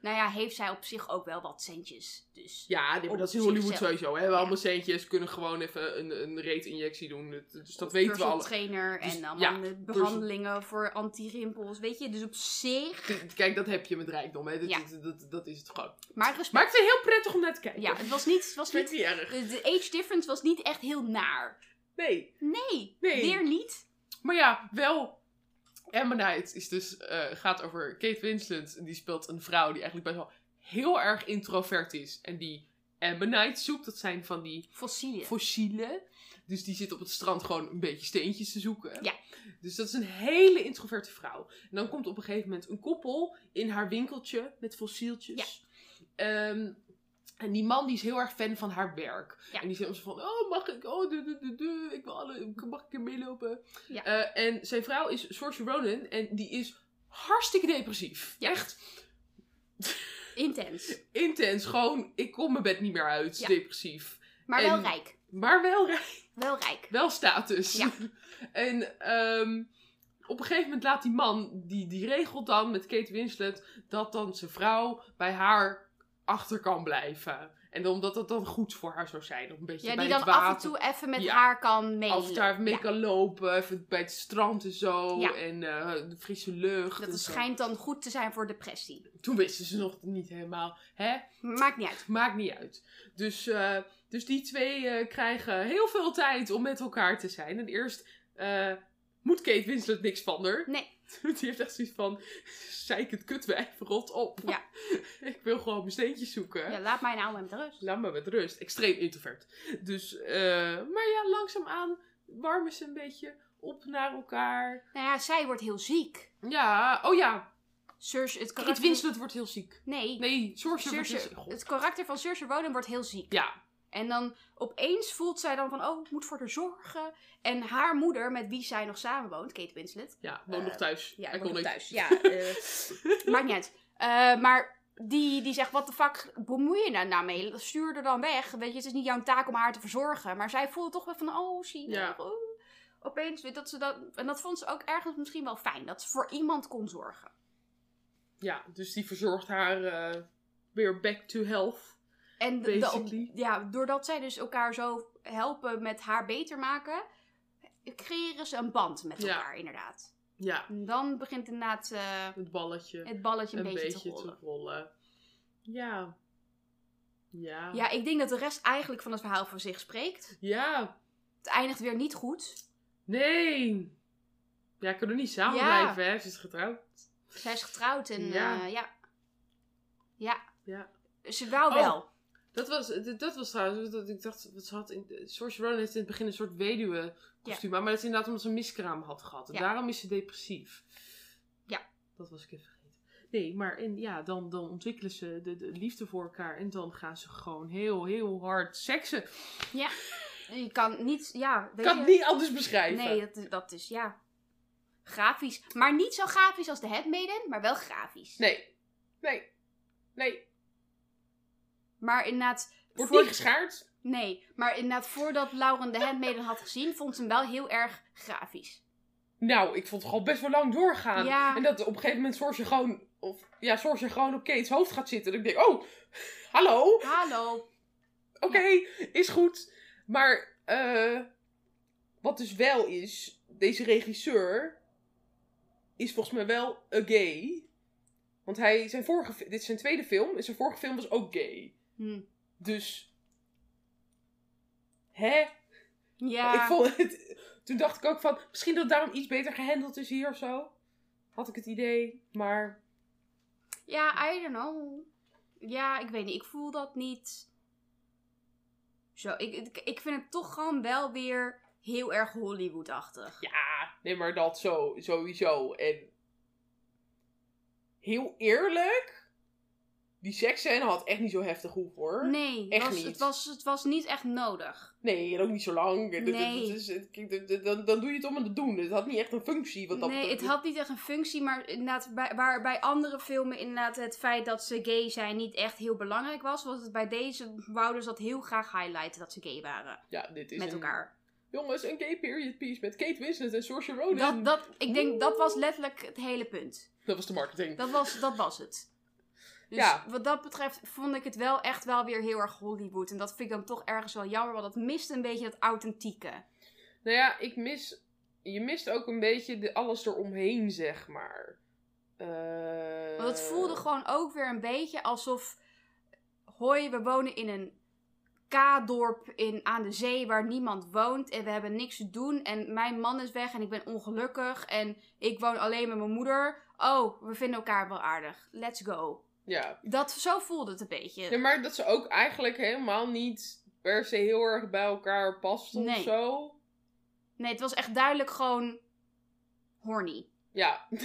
B: Nou ja, heeft zij op zich ook wel wat centjes. Dus
A: ja, nee, maar
B: Op
A: dat is in Hollywood
B: zichzelf.
A: sowieso. Hè? We allemaal
B: Ja.
A: centjes kunnen gewoon even een, een reet-injectie doen. Het- Dus dat weten we
B: personal
A: al.
B: trainer
A: Dus-
B: en dan
A: ja,
B: behandelingen voor anti-rimpels. Weet je, dus op zich.
A: Kijk, dat heb je met rijkdom. Hè? Dat,
B: Ja.
A: dat, dat, dat is het gewoon.
B: Maar respect.
A: Maar ik vind het heel prettig om naar te kijken.
B: Ja, het was niet. Het was
A: Ik vind
B: niet
A: het niet erg.
B: de de age difference was niet echt heel naar.
A: Nee.
B: Nee,
A: Nee.
B: weer niet.
A: Maar ja, wel. Emma Knight is dus, eh, gaat over Kate Winslet. Die speelt een vrouw die eigenlijk best wel heel erg introvert is. En die Emma Knight zoekt. Dat zijn van die
B: Fossielen.
A: fossielen. Dus die zit op het strand gewoon een beetje steentjes te zoeken.
B: Ja.
A: Dus dat is een hele introverte vrouw. En dan komt op een gegeven moment een koppel in haar winkeltje met fossieltjes. Ehm, en die man die is heel erg fan van haar werk.
B: Ja.
A: En die zegt zo van, oh mag ik, oh du, du, du, du, ik wil alle, mag ik er meelopen?
B: Ja.
A: Eh, en zijn vrouw is Saoirse Ronan en die is hartstikke depressief.
B: Ja.
A: Echt
B: Intens.
A: intens, gewoon ik kom mijn bed niet meer uit,
B: Ja.
A: depressief.
B: Maar wel
A: En-
B: rijk.
A: Maar wel,
B: Wel rijk.
A: wel status.
B: Ja.
A: [LAUGHS] en ehm, op een gegeven moment laat die man, die, die regelt dan met Kate Winslet, dat dan zijn vrouw bij haar achter kan blijven. En omdat dat dan goed voor haar zou zijn. Om een beetje
B: Ja,
A: Dus bij
B: die dan
A: het water
B: af en toe even met
A: Ja.
B: haar kan mee.
A: af en toe even mee kan lopen, even bij het strand en zo.
B: Ja.
A: En eh, de frisse lucht. en
B: Dat
A: zo.
B: schijnt dan goed te zijn voor depressie.
A: Toen wisten ze nog niet helemaal. Hè?
B: Maakt niet uit.
A: Maakt niet uit. Dus, eh, dus die twee eh, krijgen heel veel tijd om met elkaar te zijn. En eerst eh, moet Kate Winslet niks van haar.
B: Nee.
A: [LAUGHS] Die heeft echt zoiets van, zeik het kutwijf, rot op.
B: Ja.
A: [LAUGHS] Ik wil gewoon mijn steentjes zoeken.
B: Ja, laat mij nou met rust.
A: Laat me met rust. Extreem introvert. Dus, eh, maar ja, langzaamaan warmen ze een beetje op naar elkaar.
B: Nou ja, zij wordt heel ziek.
A: Ja, oh ja.
B: Saoirse, het
A: Kate
B: karakter...
A: Winslet wordt heel ziek.
B: Nee.
A: Nee, Sorcerer wordt heel
B: Saoirse-
A: ziek. God.
B: het karakter van Saoirse Ronan wordt heel ziek.
A: Ja,
B: En dan opeens voelt zij dan van, oh, ik moet voor haar zorgen. En haar moeder, met wie zij nog samenwoont, Kate Winslet.
A: ja, woon
B: Eh,
A: nog thuis.
B: Ja,
A: Hij
B: ik woon
A: kon
B: nog
A: niet.
B: thuis. [LAUGHS] Ja, eh, maakt niet uit. Eh, maar die, die zegt, wat de fuck bemoei je nou, nou mee? Stuur er dan weg. Weet je, het is niet jouw taak om haar te verzorgen. Maar zij voelde toch wel van, oh, zie je.
A: Ja.
B: oh. Opeens, weer dat ze dat... En dat vond ze ook ergens misschien wel fijn. Dat ze voor iemand kon zorgen.
A: Ja, dus die verzorgt haar eh, weer back to health.
B: En de- de-
A: Basically.
B: ja, doordat zij dus elkaar zo helpen met haar beter maken, creëren ze een band met
A: Ja.
B: elkaar, inderdaad.
A: Ja,
B: En dan begint inderdaad eh,
A: het balletje
B: het balletje
A: een,
B: een,
A: beetje,
B: te rollen.
A: te rollen. Ja. Ja.
B: Ja, ik denk dat de rest eigenlijk van het verhaal voor zich spreekt.
A: Ja.
B: Het eindigt weer niet goed.
A: Nee. Ja, kunnen niet samen
B: Ja.
A: blijven, hè? Ze is getrouwd.
B: Zij is getrouwd en
A: Ja.
B: ja. ja. ja.
A: Ja.
B: Ze wou
A: Oh.
B: wel.
A: Dat was, dat, dat was trouwens, dat ik dacht, wat ze had in, Saoirse Ronan heeft in het begin een soort weduwe kostuum aan, maar dat is inderdaad omdat ze een miskraam had gehad. En
B: Ja.
A: daarom is ze depressief.
B: Ja.
A: Dat was ik even vergeten. Nee, maar en, ja, dan, dan ontwikkelen ze de, de liefde voor elkaar en dan gaan ze gewoon heel, heel hard seksen.
B: Je kan niet, ja.
A: Ik
B: Weet
A: kan
B: je?
A: het niet anders beschrijven.
B: Nee, dat, is- dat is, ja. Grafisch. Maar niet zo grafisch als de Headmaiden, maar wel grafisch.
A: Nee. Nee. Nee.
B: Maar inderdaad...
A: Wordt
B: voor-
A: niet geschaard.
B: Nee, maar inderdaad, voordat Lauren de Handmaiden had gezien, vond ze hem wel heel erg grafisch.
A: Nou, ik vond het gewoon best wel lang doorgaan.
B: Ja.
A: En dat op een gegeven moment Saoirse gewoon, of, ja, Saoirse gewoon op Kate's hoofd gaat zitten. En ik denk, oh, hallo.
B: Hallo.
A: Oké, is goed. Maar eh, wat dus wel is, deze regisseur is volgens mij wel een gay. Want hij, zijn vorige, fi- dit is zijn tweede film en zijn vorige film was ook gay.
B: Hm.
A: Dus, hè?
B: Ja,
A: Ik vond het, toen dacht ik ook van, misschien dat het daarom iets beter gehandeld is hier of zo. Had ik het idee, maar
B: ja, I don't know. Ja, ik weet niet, ik voel dat niet. Zo, ik, ik, ik vind het toch gewoon wel weer heel erg Hollywood-achtig.
A: ja, nee maar dat zo, sowieso. En heel eerlijk, die seksscène had echt niet zo heftig hoef hoor.
B: Nee,
A: Echt
B: was,
A: niet.
B: Het, was, het was niet echt nodig.
A: Nee, en ook niet zo lang. En dat- dat-
B: Nee.
A: dat is- het- kijk, dat- dat- Dan, dan doe je het om het te doen. Het had niet echt een functie. Wat dat
B: nee, het
A: betreft.
B: had niet echt een functie, maar inderdaad, bij, waar bij andere filmen inderdaad het feit dat ze gay zijn niet echt heel belangrijk was, was het bij deze wouden ze dat heel graag highlighten dat ze gay waren.
A: Ja, dit is
B: met
A: een-
B: elkaar.
A: Jongens, een gay period piece met Kate Winslet en Saoirse Ronan.
B: Dat, dat, ik denk, dat was letterlijk het hele punt.
A: Dat was de marketing.
B: Dat was, dat was het. Dus
A: Ja.
B: wat dat betreft vond ik het wel echt wel weer heel erg Hollywood. En dat vind ik dan toch ergens wel jammer, want dat mist een beetje dat authentieke.
A: Nou ja, ik mis. Je mist ook een beetje de, alles eromheen, zeg maar. Eh,
B: Want het voelde gewoon ook weer een beetje alsof... Hoi, we wonen in een K-dorp in, aan de zee waar niemand woont. En we hebben niks te doen. En mijn man is weg en ik ben ongelukkig. En ik woon alleen met mijn moeder. Oh, we vinden elkaar wel aardig. Let's go.
A: Ja.
B: Dat, zo voelde het een beetje.
A: Nee, maar dat ze ook eigenlijk helemaal niet per se heel erg bij elkaar past of
B: Nee.
A: zo.
B: Nee, het was echt duidelijk gewoon horny.
A: Ja.
B: Eh,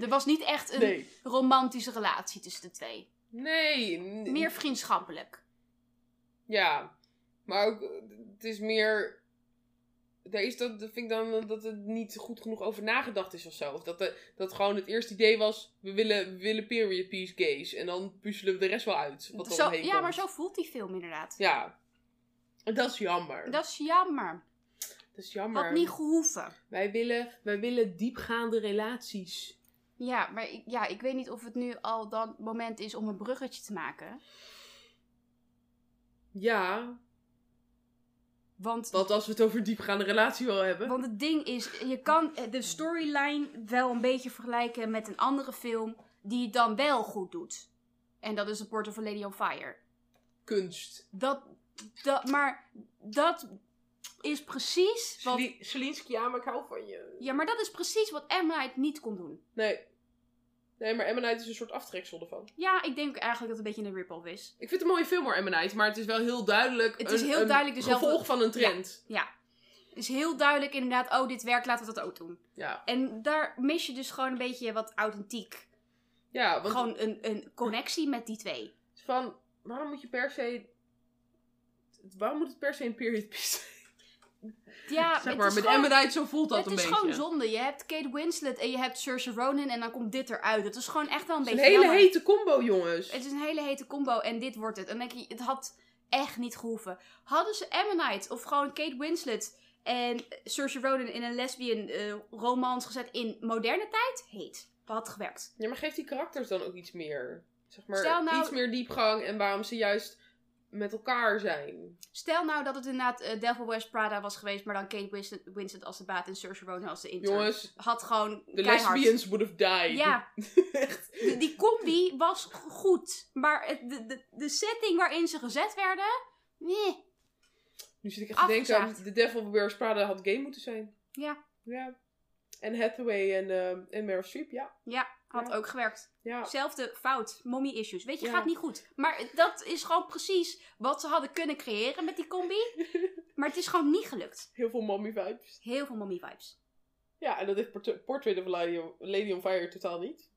B: Er was niet echt
A: [LAUGHS]
B: een
A: Nee.
B: romantische relatie tussen de twee.
A: Nee. n-
B: Meer vriendschappelijk.
A: Ja. Maar ook, eh, het is meer. daar is dat, dat vind ik dan dat er niet goed genoeg over nagedacht is of zo. Of dat, de, dat gewoon het eerste idee was, we willen, we willen period piece gays. En dan puzzelen we de rest wel uit. Wat er
B: Zo,
A: omheen
B: ja,
A: komt.
B: maar zo voelt die film inderdaad.
A: Ja. En dat is jammer. Dat,
B: Dat is jammer.
A: is jammer.
B: Had niet gehoeven.
A: wij, willen, wij willen diepgaande relaties.
B: Ja, maar ik, ja, ik weet niet of het nu al dan het moment is om een bruggetje te maken.
A: Ja,
B: Want,
A: want als we het over diepgaande relatie wel hebben.
B: want het ding is, je kan eh, de storyline wel een beetje vergelijken met een andere film die het dan wel goed doet. En dat is The Port of a Lady on Fire.
A: kunst.
B: Dat, dat, maar dat is precies wat...
A: Sli- Slinski, ja, maar ik hou van je.
B: Ja, maar dat is precies wat Emma Knight niet kon doen.
A: Nee. Nee, maar Emma Knight is een soort aftreksel ervan.
B: Ja, ik denk eigenlijk dat het een beetje een rip-off is.
A: Ik vind het een mooie film hoor, Emma Knight. Maar het is wel heel duidelijk
B: Het is
A: een,
B: heel
A: een
B: duidelijk dezelfde-
A: gevolg van een trend.
B: Het is heel duidelijk inderdaad, oh, dit werkt, laten we dat ook doen.
A: Ja,
B: En daar mis je dus gewoon een beetje wat authentiek.
A: ja. want
B: Gewoon een, een connectie met die twee.
A: van, waarom moet je per se... Waarom moet het per se een period piece zijn?
B: Ja,
A: [LAUGHS] zeg
B: het
A: maar,
B: is
A: met
B: gewoon,
A: Emma Knight zo voelt dat
B: Het
A: een
B: is
A: beetje.
B: gewoon zonde. Je hebt Kate Winslet en je hebt Saoirse Ronan en dan komt dit eruit. Het is gewoon echt wel een
A: Het is
B: beetje
A: een hele
B: jammer.
A: hete combo, jongens.
B: Het is een hele hete combo en dit wordt het. En dan denk je, het had echt niet gehoeven. Hadden ze Emma Knight of gewoon Kate Winslet en Saoirse Ronan in een lesbian eh romance gezet in moderne tijd? Heet. Dat had gewerkt.
A: Ja, maar geeft die karakters dan ook iets meer? Zeg maar,
B: Stel nou-
A: iets meer diepgang en waarom ze juist met elkaar zijn.
B: Stel nou dat het inderdaad eh, Devil Wears Prada was geweest, maar dan Kate Winslet, Winslet als de baat en Saoirse Ronan als de intern.
A: Jongens,
B: Had gewoon
A: de
B: keihard.
A: lesbians would have died.
B: Ja,
A: [LAUGHS] Echt.
B: die, die combi was g- goed. Maar het- de, de, de setting waarin ze gezet werden... Nee.
A: Nu zit ik echt te denken aan
B: Afgezaagd.
A: The Devil Wears Prada had gay moeten zijn.
B: Ja.
A: Ja. En Hathaway en, ehm en Meryl Streep, ja.
B: Ja, had
A: Ja.
B: ook gewerkt.
A: Ja. [LAUGHS]
B: Zelfde fout, mommy issues. Weet je,
A: Ja.
B: gaat niet goed. Maar dat is gewoon precies wat ze hadden kunnen creëren met die combi. Maar het is gewoon niet gelukt.
A: Heel veel mommy vibes.
B: Heel veel mommy vibes.
A: Ja, en dat heeft Port- Portrait of a Lady on, Lady on Fire totaal niet.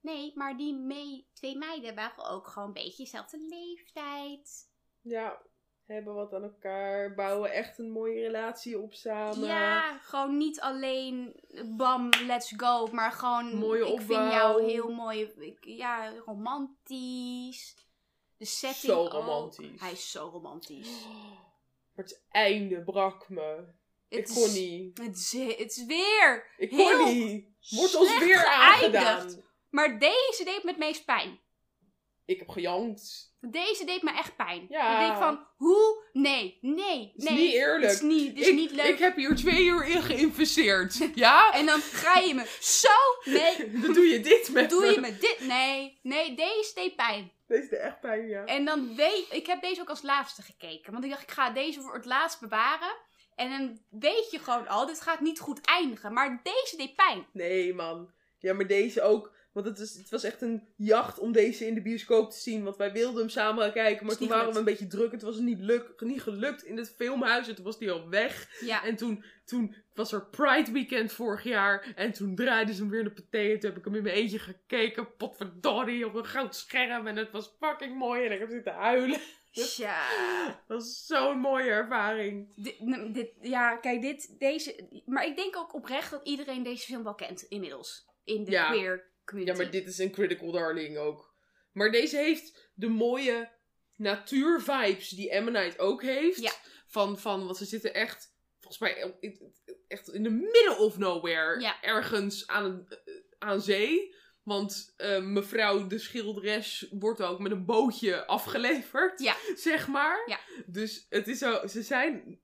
B: Nee, maar die mee, twee meiden waren ook gewoon een beetje dezelfde leeftijd.
A: Ja, hebben wat aan elkaar, bouwen echt een mooie relatie op samen.
B: ja, gewoon niet alleen bam, let's go. Maar gewoon,
A: Mooie
B: ik
A: opbouw.
B: vind jou heel mooi. ik- ja, romantisch. De setting
A: Zo
B: ook.
A: romantisch.
B: Hij is zo romantisch.
A: Maar het einde brak me. Ik
B: Het
A: kon
B: is-
A: niet.
B: Het is, het is weer
A: Ik kon
B: Heel
A: niet. Wordt ons
B: slecht
A: weer
B: geëindigd.
A: aangedaan.
B: Maar deze deed me het meest pijn.
A: Ik heb gejankt.
B: Deze deed me echt pijn.
A: Ja.
B: Ik denk van, hoe? Nee, nee,
A: is
B: nee.
A: niet eerlijk.
B: Het is niet, het is
A: ik,
B: niet leuk.
A: Ik heb hier twee uur in
B: [LAUGHS]
A: geïnvesteerd. Ja?
B: En dan ga je me
A: [LAUGHS]
B: zo... Nee,
A: Dan doe je dit met
B: doe
A: me. [LAUGHS]
B: je me dit? Nee, nee, deze deed pijn.
A: Deze deed echt pijn, ja.
B: En dan weet... Ik heb deze ook als laatste gekeken. Want ik dacht, ik ga deze voor het laatst bewaren. En dan weet je gewoon al, dit gaat niet goed eindigen. Maar deze deed pijn.
A: Nee, man. Ja, maar deze ook. Want het, is, het was echt een jacht om deze in de bioscoop te zien. Want wij wilden hem samen gaan kijken. Maar
B: Is
A: toen
B: niet
A: waren we een
B: gelukt.
A: beetje druk. Het was niet, luk, niet gelukt in het filmhuis. En toen was die al weg.
B: Ja.
A: En toen, toen was er Pride Weekend vorig jaar. En toen draaiden ze hem weer in de paté. En toen heb ik hem in mijn eentje gekeken. Potverdorie, op een groot scherm. En het was fucking mooi. En ik heb zitten huilen. [LAUGHS]
B: Tja.
A: Dat was zo'n mooie ervaring.
B: Dit, n- dit- ja, kijk, dit, deze. Maar ik denk ook oprecht dat iedereen deze film wel kent inmiddels. In de
A: Ja.
B: queer community.
A: Ja, maar dit is een Critical Darling ook. Maar deze heeft de mooie natuurvibes die Ammonite ook heeft.
B: Ja.
A: Van, van, want ze zitten echt, volgens mij, echt in the middle of nowhere.
B: Ja.
A: Ergens aan, een- eh, aan zee. Want eh, mevrouw de schilderes wordt ook met een bootje afgeleverd.
B: Ja.
A: Zeg maar.
B: Ja.
A: Dus het is zo, ze zijn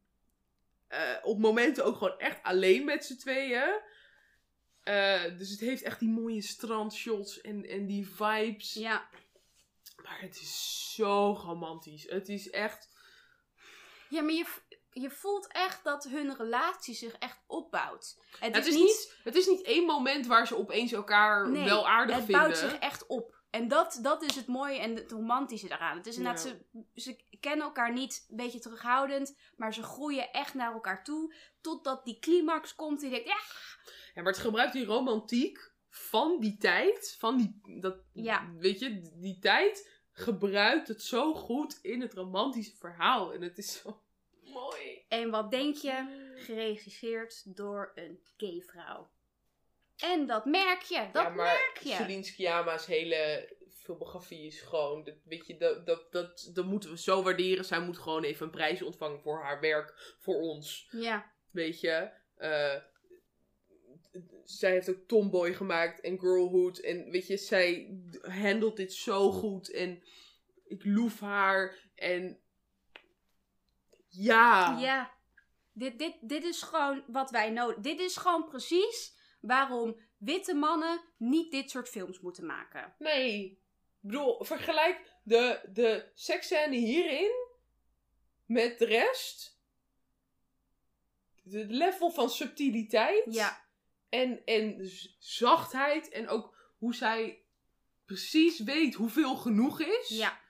A: eh, op momenten ook gewoon echt alleen met z'n tweeën. Eh, dus het heeft echt die mooie strandshots en, en die vibes.
B: Ja.
A: Maar het is zo romantisch. Het is echt.
B: ja, maar je, v- je voelt echt dat hun relatie zich echt opbouwt. Het,
A: Het, is niet, het is niet één moment waar ze opeens elkaar
B: Nee,
A: wel aardig
B: Het
A: vinden.
B: bouwt zich echt op. En dat, dat is het mooie en het romantische daaraan. Het is inderdaad,
A: Ja.
B: ze, ze kennen elkaar niet, een beetje terughoudend, maar ze groeien echt naar elkaar toe. Totdat die climax komt en je denkt, ja,
A: Ja, maar het gebruikt die romantiek van die tijd. Van die. Dat,
B: Ja.
A: Weet je, die tijd gebruikt het zo [LAUGHS] goed in het romantische verhaal. En het is zo. Mooi.
B: En wat denk je? Geregisseerd door een gayvrouw. En dat merk je. Dat
A: ja, maar
B: merk je.
A: Celine Sciamma's hele filmografie is gewoon... Dat, weet je, dat, dat, dat, dat moeten we zo waarderen. Zij moet gewoon even een prijs ontvangen voor haar werk, voor ons.
B: Ja,
A: Weet je? Eh, zij heeft ook Tomboy gemaakt en Girlhood. En weet je, zij handelt dit zo goed. En ik loef haar. En ja.
B: ja. Dit, dit, dit is gewoon wat wij nodig Dit is gewoon precies waarom witte mannen niet dit soort films moeten maken.
A: Nee. Ik bedoel, vergelijk de, de seksscène hierin met de rest. Het level van subtiliteit.
B: Ja,
A: En, en z- zachtheid. En ook hoe zij precies weet hoeveel genoeg is.
B: ja.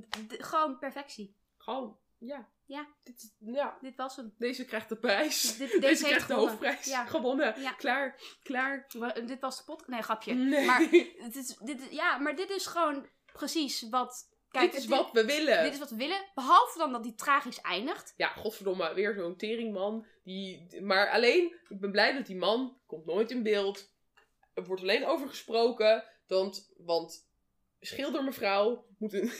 B: D- d- gewoon perfectie.
A: Gewoon, ja.
B: Ja.
A: Dit, is- ja.
B: Dit was hem.
A: Deze krijgt de prijs. [LAUGHS]
B: Dit-
A: deze krijgt
B: heeft
A: Dus de
B: gewonnen.
A: hoofdprijs.
B: Ja.
A: Gewonnen.
B: Ja.
A: Klaar. Klaar.
B: Wa- Dit was de podcast. Nee, grapje.
A: Nee. [LAUGHS]
B: Maar dit is, dit is- ja, maar dit is gewoon precies wat. Kijk,
A: dit is
B: het-
A: wat we willen.
B: Dit is wat we willen. Behalve dan dat die tragisch eindigt.
A: Ja, godverdomme, weer zo'n teringman. Die... Maar alleen, ik ben blij dat die man komt nooit in beeld. Er wordt alleen over gesproken. Want, want schildermevrouw moet een... [LAUGHS]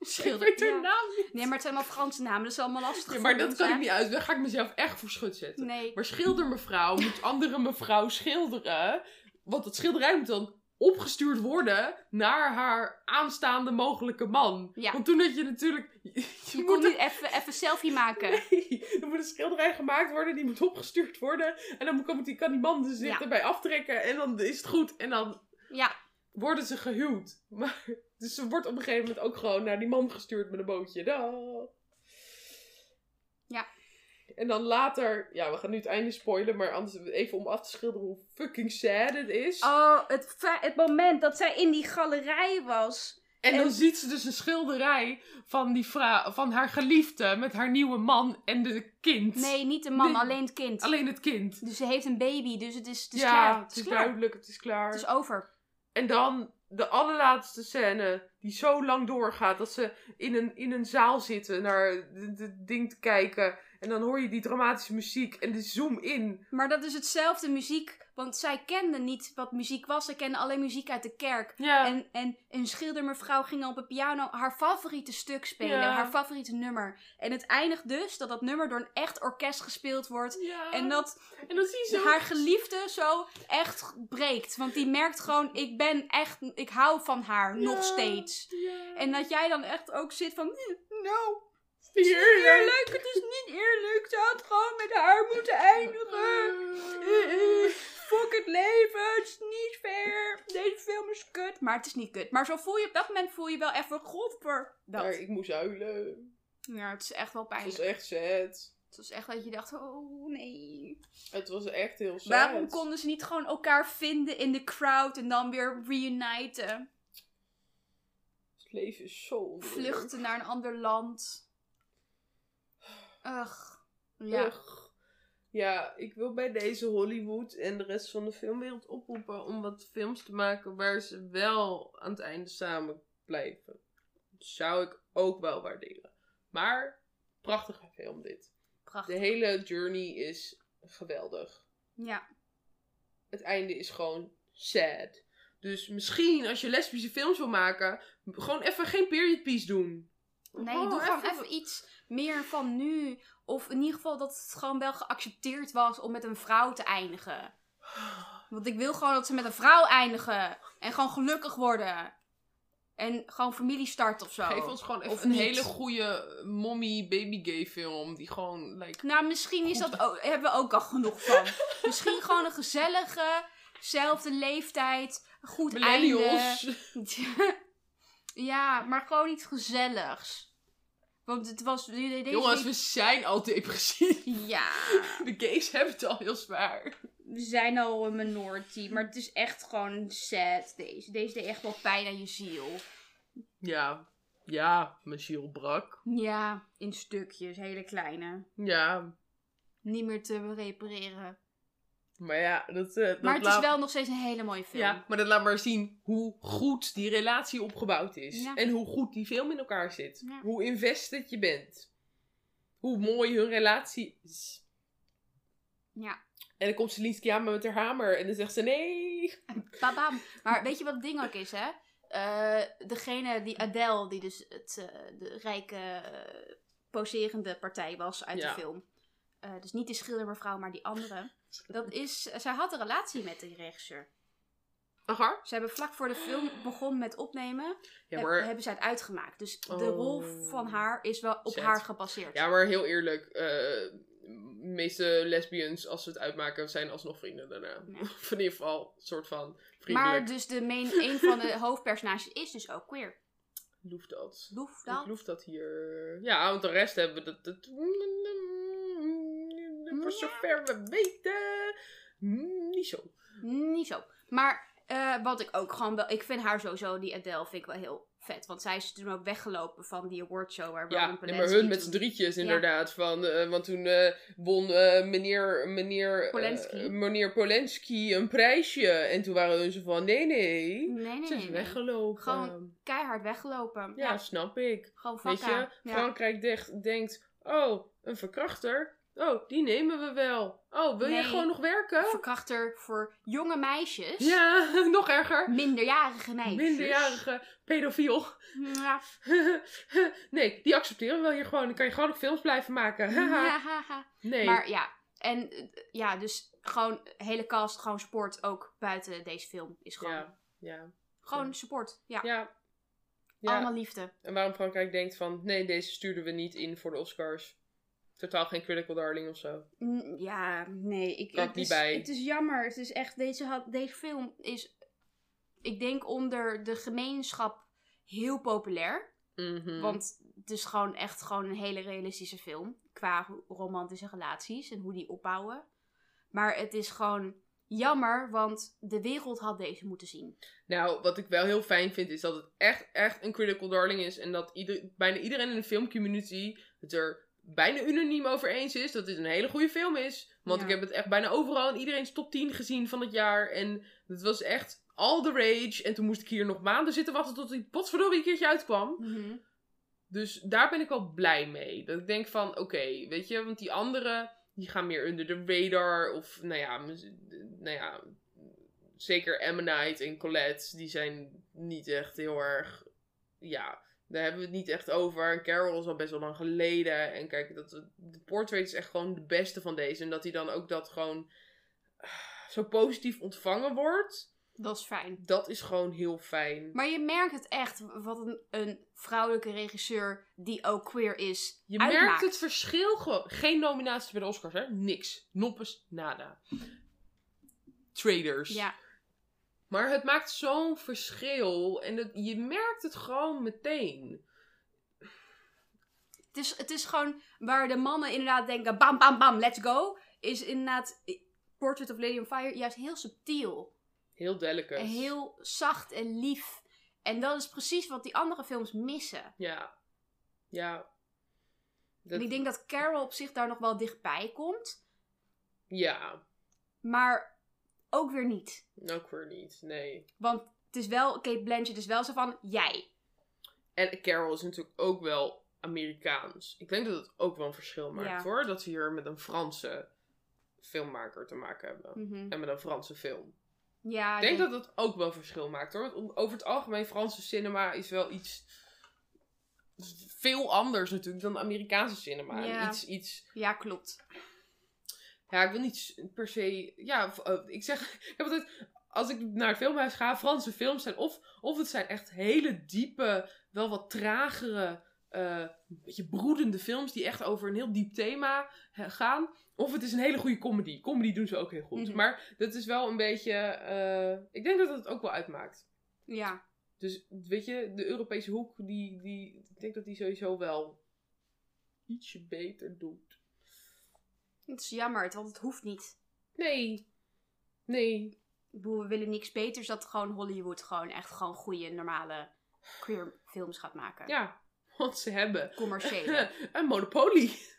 B: Schilder-
A: Ik weet haar
B: ja.
A: naam niet.
B: Nee, maar het zijn allemaal Franse namen. Dat is allemaal lastig.
A: Ja, maar
B: voor
A: dat
B: ons,
A: kan
B: hè?
A: ik niet uit. Daar ga ik mezelf echt voor schut zetten.
B: Nee.
A: Maar schildermevrouw moet andere mevrouw schilderen. Want dat schilderij moet dan opgestuurd worden naar haar aanstaande mogelijke man.
B: Ja.
A: Want toen had je natuurlijk... [LAUGHS]
B: Je
A: moet
B: kon niet even even selfie maken.
A: Nee, er moet een schilderij gemaakt worden, die moet opgestuurd worden. En dan kan die, kan die man dus zich
B: Ja.
A: erbij aftrekken en dan is het goed. En dan
B: Ja,
A: worden ze gehuwd. [LAUGHS] Maar, dus ze wordt op een gegeven moment ook gewoon naar die man gestuurd met een bootje. Dag.
B: Ja.
A: En dan later, ja, we gaan nu het einde spoilen, maar anders even om af te schilderen hoe fucking sad het is.
B: Oh, het, fe- het moment dat zij in die galerij was.
A: En dan
B: En-
A: ziet ze dus een schilderij van, die vrouw, van haar geliefde met haar nieuwe man en de kind.
B: Nee, niet de man,
A: Nee.
B: alleen het kind.
A: Alleen het kind.
B: Dus ze heeft een baby, dus het is, het is
A: ja,
B: klaar.
A: het is duidelijk, het is klaar.
B: Het is over.
A: En dan de allerlaatste scène, die zo lang doorgaat, dat ze in een, in een zaal zitten naar het ding te kijken. En dan hoor je die dramatische muziek en de zoom in.
B: Maar dat is hetzelfde muziek, want zij kende niet wat muziek was. Ze kende alleen muziek uit de kerk.
A: Ja,
B: En, en een schildermevrouw ging op een piano haar favoriete stuk spelen,
A: Ja.
B: haar favoriete nummer. En het eindigt dus dat dat nummer door een echt orkest gespeeld wordt.
A: ja.
B: En dat
A: en dan zie je zo...
B: haar geliefde zo echt breekt. Want die merkt gewoon, ik ben echt, ik hou van haar
A: Ja.
B: nog steeds.
A: Ja.
B: En dat jij dan echt ook zit van, "Hm, no,
A: Heerlijk.
B: eerlijk, het is niet eerlijk. Ze had gewoon met haar moeten eindigen. Eh, eh, Fuck het leven, het is niet fair. Deze film is kut. Maar het is niet kut. Maar zo voel je op dat moment voel je wel even godver.
A: Maar
B: Dat.
A: ik moest huilen.
B: Ja, het is echt wel
A: Het was
B: pijnlijk.
A: echt sad.
B: Het was echt dat je dacht, oh nee.
A: Het was echt heel sad.
B: Waarom konden ze niet gewoon elkaar vinden in de crowd en dan weer reuniten?
A: Het leven is zo onduidelijk.
B: Vluchten naar een ander land. Ugh. Ja.
A: Ugh. Ja, ik wil bij deze Hollywood en de rest van de filmwereld oproepen om wat films te maken waar ze wel aan het einde samen blijven. Dat zou ik ook wel waarderen. Maar, prachtige film dit. De
B: Prachtig.
A: hele journey is geweldig.
B: Ja.
A: Het einde is gewoon sad. Dus misschien als je lesbische films wil maken, gewoon even geen period piece doen.
B: Nee,
A: Oh,
B: doe gewoon even iets meer van nu. Of in ieder geval dat het gewoon wel geaccepteerd was om met een vrouw te eindigen. Want ik wil gewoon dat ze met een vrouw eindigen. En gewoon gelukkig worden. En gewoon familie starten of zo.
A: Geef ons gewoon even
B: Of
A: een
B: niet.
A: hele goede mommy baby gay film die gewoon like
B: Nou, misschien is dat ook, hebben we ook al genoeg van. misschien gewoon een gezellige, zelfde leeftijd, goed einde.
A: millennials. [LAUGHS]
B: [LAUGHS] ja, maar gewoon iets gezelligs. Want het was... Deze
A: Jongens,
B: week-
A: we zijn al depressief. [LAUGHS]
B: Ja,
A: De gays hebben het al heel zwaar.
B: we zijn al een minority, maar het is echt gewoon sad deze. Deze deed echt wel pijn aan je ziel.
A: Ja, ja, mijn ziel brak.
B: Ja, in stukjes, hele kleine.
A: Ja,
B: Niet meer te repareren.
A: maar ja, dat, eh, dat
B: Maar het is
A: laat...
B: wel nog steeds een hele mooie film.
A: Ja, maar dat laat maar zien hoe goed die relatie opgebouwd is.
B: Ja.
A: En hoe goed die film in elkaar zit.
B: Ja.
A: Hoe invested je bent. hoe mooi hun relatie is.
B: Ja.
A: En dan komt Celine aan met haar hamer en dan zegt ze nee.
B: Babam. Maar weet je wat het ding ook is, hè? Eh, degene, die Adele, die dus het, eh, de rijke eh, poserende partij was uit
A: Ja.
B: de film. Eh, dus niet die schildermevrouw, maar die andere. Dat is, zij had een relatie met die regisseur.
A: Aha.
B: Ze hebben vlak voor de film begon met opnemen.
A: Ja,
B: heb-
A: maar,
B: hebben ze het uitgemaakt. Dus de
A: Oh.
B: rol van haar is wel op
A: Zet.
B: haar gebaseerd.
A: ja, maar heel eerlijk. eh, de meeste lesbians, als ze het uitmaken, zijn alsnog vrienden daarna. [LAUGHS]
B: Ja.
A: Of in ieder geval, soort van
B: Maar
A: vriendelijk.
B: dus de main, een van de [LAUGHS] hoofdpersonages is dus ook queer.
A: Loef dat.
B: Loef
A: Ik
B: dat.
A: loef dat hier. Ja, want de rest hebben we dat. dat... Voor zover we weten. Mm, Niet zo.
B: Niet zo. Maar eh, wat ik ook gewoon wel... Ik vind haar sowieso, die Adele, vind ik wel heel vet. Want zij is dus toen ook weggelopen van die awardshow waar Roman
A: Ja, nee, maar
B: Polanski
A: hun met
B: toen-
A: z'n drietjes inderdaad. Van, eh, want toen eh, won eh, meneer, meneer, eh,
B: Polanski.
A: meneer Polanski een prijsje. En toen waren hun zo van, nee, nee.
B: Nee, nee,
A: Ze is
B: nee. nee.
A: weggelopen.
B: Hmm. Gewoon- Keihard weggelopen.
A: Ja,
B: Ja,
A: snap ik.
B: gewoon
A: Weet
B: vakka.
A: je,
B: Ja.
A: Frankrijk dech- denkt, oh, een verkrachter. Oh, die nemen we wel. Oh, wil jij
B: Nee.
A: gewoon nog werken?
B: Verkrachter voor jonge meisjes.
A: Ja, [LAUGHS] nog erger.
B: Minderjarige meisjes.
A: Minderjarige pedofiel.
B: Ja.
A: nee, die accepteren we wel hier gewoon. Dan kan je gewoon nog films blijven maken. [LAUGHS] [LAUGHS] Haha.
B: ja.
A: nee.
B: Maar ja, en eh, ja, dus gewoon hele cast, gewoon support ook buiten deze film is gewoon,
A: Ja, ja,
B: gewoon support. Ja.
A: ja. Ja.
B: allemaal liefde.
A: En waarom Frankrijk denkt van, nee, deze stuurden we niet in voor de Oscars. Totaal geen critical darling of zo.
B: Mm, Ja, nee, ik
A: Kan ik
B: het
A: niet
B: is,
A: bij.
B: Het is jammer. Het is echt deze had deze film is, ik denk onder de gemeenschap heel populair,
A: Mhm.
B: want het is gewoon echt gewoon een hele realistische film qua ho- romantische relaties en hoe die opbouwen. Maar het is gewoon jammer, want de wereld had deze moeten zien.
A: Nou, wat ik wel heel fijn vind, is dat het echt, echt een critical darling is. En dat ieder, bijna iedereen in de filmcommunity het er bijna unaniem over eens is. Dat dit een hele goede film is. Want
B: Ja.
A: ik heb het echt bijna overal in iedereen's top 10 gezien van het jaar. En het was echt all the rage. En toen moest ik hier nog maanden zitten wachten tot die potverdorie een keertje uitkwam. Dus daar ben ik wel blij mee. Dat ik denk van, oké, weet je, want die anderen, die gaan meer onder de radar. Of, nou ja, mis- nou ja zeker Ammonite en Colette, die zijn niet echt heel erg, ja, daar hebben we het niet echt over. En Carol is al best wel lang geleden. En kijk, dat, de portrait is echt gewoon de beste van deze. En dat hij dan ook dat gewoon ah, zo positief ontvangen wordt,
B: Dat is fijn.
A: dat is gewoon heel fijn.
B: Maar je merkt het echt, wat een, een vrouwelijke regisseur die ook queer is,
A: Je
B: uitmaakt.
A: merkt het verschil gewoon. Geen nominaties bij de Oscars, hè? Niks. Noppes, nada. Traders.
B: Ja,
A: Maar het maakt zo'n verschil. En het, je merkt het gewoon meteen.
B: het is, het is gewoon waar de mannen inderdaad denken, bam, bam, bam, let's go. Is inderdaad Portrait of Lady on Fire juist heel subtiel.
A: Heel delicate.
B: En heel zacht en lief. En dat is precies wat die andere films missen.
A: Ja. Ja.
B: En
A: Dat-
B: ik denk dat Carol op zich daar nog wel dichtbij komt.
A: Ja.
B: Maar ook weer niet.
A: Ook weer niet. Nee.
B: Want het is wel, Kate Blanchett is wel zo van, jij.
A: En Carol is natuurlijk ook wel Amerikaans. Ik denk dat het ook wel een verschil maakt
B: Ja.
A: hoor. Dat we hier met een Franse filmmaker te maken hebben.
B: Mhm.
A: En met een Franse film.
B: Ja,
A: Ik denk dat dat ook wel verschil maakt hoor. Want om- over het algemeen, Franse cinema is wel iets veel anders natuurlijk dan de Amerikaanse cinema.
B: Ja.
A: Iets, iets,
B: ja, klopt.
A: ja, ik wil niet s- per se, ja, v- eh, ik zeg, [LAUGHS] ik heb altijd, als ik naar het filmhuis ga, Franse films zijn of, of het zijn echt hele diepe, wel wat tragere, eh, een beetje broedende films die echt over een heel diep thema eh, gaan. Of het is een hele goede comedy. Comedy doen ze ook heel goed.
B: Mhm.
A: Maar dat is wel een beetje, eh, ik denk dat dat het ook wel uitmaakt.
B: Ja,
A: Dus weet je, de Europese hoek, die, die, ik denk dat die sowieso wel ietsje beter doet.
B: het is jammer, want het hoeft niet.
A: Nee. Nee.
B: Ik bedoel, we willen niks beters dat gewoon Hollywood gewoon echt gewoon goede, normale queer films gaat maken.
A: Ja, want ze hebben [LAUGHS]
B: Commerciële.
A: een monopolie.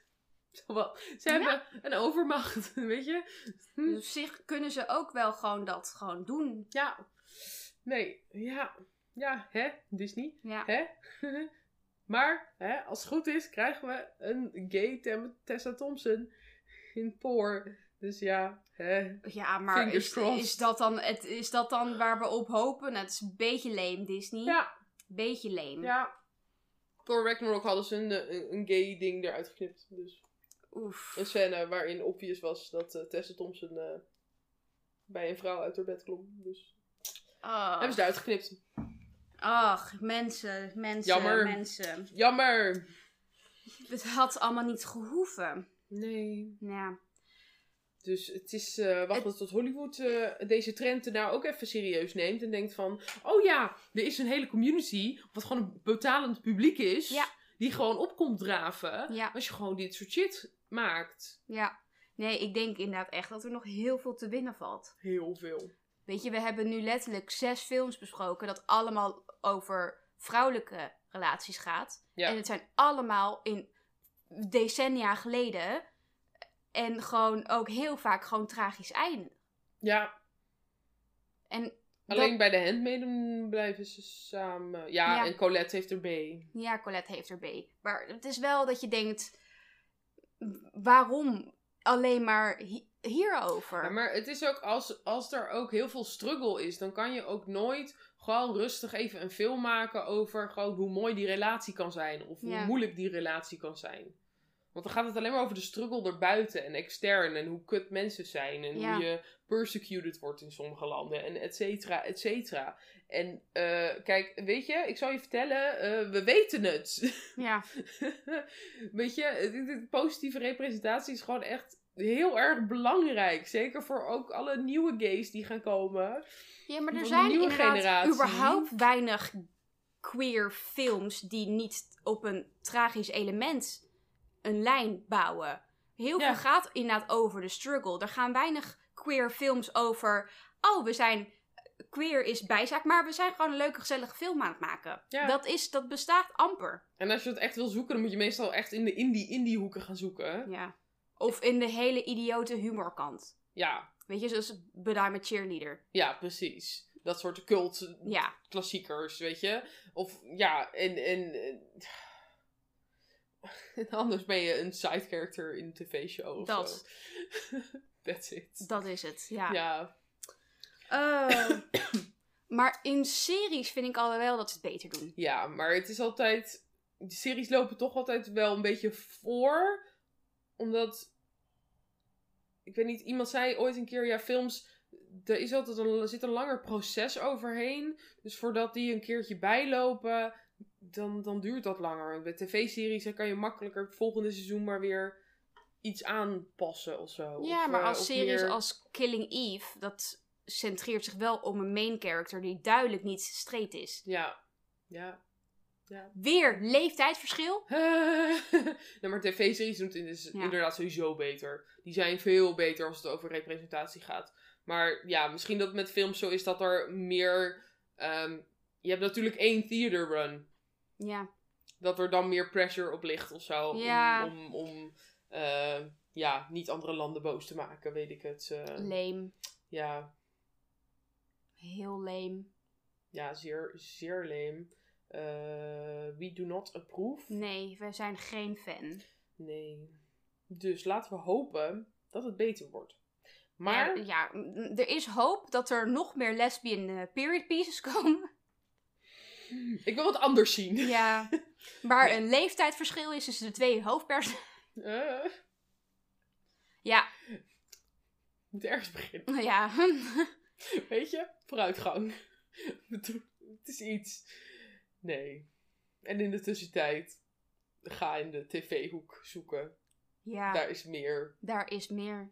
A: Zowel- Ze hebben een overmacht, [LAUGHS] weet je? Hm.
B: dus op zich kunnen ze ook wel gewoon dat gewoon doen.
A: Ja. Nee. Ja. Ja, hè? [LAUGHS] Disney?
B: Ja.
A: Hè? Maar hè, als het goed is, krijgen we een gay Tem- Tessa Thompson in Poor. Dus ja, hè.
B: Ja, maar
A: Fingers
B: is,
A: crossed.
B: is, dat dan het, is dat dan waar we op hopen? Nou, het is een beetje leem, Disney.
A: ja,
B: Beetje leem.
A: ja. Thor Ragnarok hadden ze een, eh, een, een gay ding eruit geknipt. Dus
B: Oef.
A: een scène waarin obvious was dat eh, Tessa Thompson eh, bij een vrouw uit haar bed klom. Dus
B: Ach.
A: hebben ze eruit geknipt.
B: Ah. Ach, mensen, mensen,
A: Jammer.
B: mensen.
A: Jammer!
B: Het had allemaal niet gehoeven.
A: Nee.
B: Ja.
A: Dus het is eh, wachten tot Hollywood eh, deze trend nou ook even serieus neemt. En denkt van, oh ja, er is een hele community, wat gewoon een betalend publiek is.
B: Ja.
A: Die gewoon op komt draven.
B: Ja.
A: Als je gewoon dit soort shit maakt.
B: Ja. Nee, ik denk inderdaad echt dat er nog heel veel te winnen valt.
A: Heel veel.
B: Weet je, we hebben nu letterlijk zes films besproken dat allemaal over vrouwelijke relaties gaat.
A: Ja.
B: En het zijn allemaal in decennia geleden en gewoon ook heel vaak gewoon tragisch einde.
A: Ja,
B: En
A: alleen bij de handmaiden blijven ze samen. Ja,
B: Ja.
A: en Colette heeft er mee.
B: dat, ja, Colette heeft er B. Maar het is wel dat je denkt, waarom alleen maar hi- hierover?
A: Ja, maar het is ook, als, als er ook heel veel struggle is, dan kan je ook nooit gewoon rustig even een film maken over gewoon hoe mooi die relatie kan zijn. Of hoe
B: Ja.
A: moeilijk die relatie kan zijn. Want dan gaat het alleen maar over de struggle erbuiten en extern. En hoe kut mensen zijn. En
B: Ja.
A: hoe je persecuted wordt in sommige landen. En et cetera, et cetera. En eh, kijk, weet je, ik zal je vertellen, eh, we weten het. [LAUGHS]
B: Ja,
A: Weet je, het- het- positieve representatie is gewoon echt heel erg belangrijk. Zeker voor ook alle nieuwe gays die gaan komen.
B: Ja, maar er
A: Van
B: zijn
A: de nieuwe
B: inderdaad
A: generatie.
B: überhaupt weinig queer films die niet op een tragisch element een lijn bouwen. Heel
A: Ja.
B: veel gaat inderdaad over de struggle. Er gaan weinig queer films over, oh, we zijn queer is bijzaak, maar we zijn gewoon een leuke gezellige film aan het maken.
A: Ja.
B: Dat, is, dat bestaat amper.
A: En als je dat echt wil zoeken, dan moet je meestal echt in de indie-indie-hoeken gaan zoeken.
B: Ja. Of in de hele idiote humorkant.
A: Ja,
B: Weet je, zoals Bedaar met Cheerleader.
A: ja, precies. Dat soort cult
B: Ja,
A: klassiekers, weet je. Of ja, en, en, en... [LAUGHS] en anders ben je een side character in een tv-show of
B: Dat.
A: zo. [LAUGHS] That's it.
B: dat is het.
A: Ja,
B: Oh. maar in series vind ik al wel dat ze het beter doen.
A: Ja, maar het is altijd. De series lopen toch altijd wel een beetje voor. Omdat. Ik weet niet, iemand zei ooit een keer: ja, films. Er is altijd een, er zit een langer proces overheen. Dus voordat die een keertje bijlopen, dan, dan duurt dat langer. Bij tv-series dan kan je makkelijker het volgende seizoen maar weer iets aanpassen of zo.
B: ja,
A: Of,
B: maar
A: eh,
B: als
A: of
B: series
A: meer-
B: als Killing Eve, dat centreert zich wel om een main character die duidelijk niet straight is.
A: Ja, ja.
B: Weer
A: [LAUGHS]
B: leeftijdsverschil?
A: nee, maar tv-series doen het in- is
B: Ja.
A: inderdaad sowieso beter. Die zijn veel beter als het over representatie gaat. Maar ja, misschien dat het met films zo is dat er meer... ehm, je hebt natuurlijk één theater run.
B: Ja.
A: Dat er dan meer pressure op ligt of zo. om-
B: Ja.
A: Om, om, eh, ja, niet andere landen boos te maken, weet ik het. eh.
B: Leem.
A: ja,
B: Heel leem.
A: ja, zeer, zeer lame. Eh, we do not approve.
B: Nee, wij zijn geen fan.
A: Nee. Dus laten we hopen dat het beter wordt. Maar
B: Ja, ja, m- er is hoop dat er nog meer lesbian eh, period pieces [LAUGHS] komen.
A: ik wil wat anders zien. [LAUGHS]
B: Ja. Waar een leeftijdsverschil is tussen de twee hoofdpersonen. [LAUGHS]
A: Eh, ik
B: Ja,
A: moet ergens beginnen.
B: ja.
A: Weet je? Vooruitgang. [LAUGHS] We doen- het is iets. Nee. En in de tussentijd ga in de tv-hoek zoeken.
B: ja.
A: Daar is meer.
B: Daar is meer.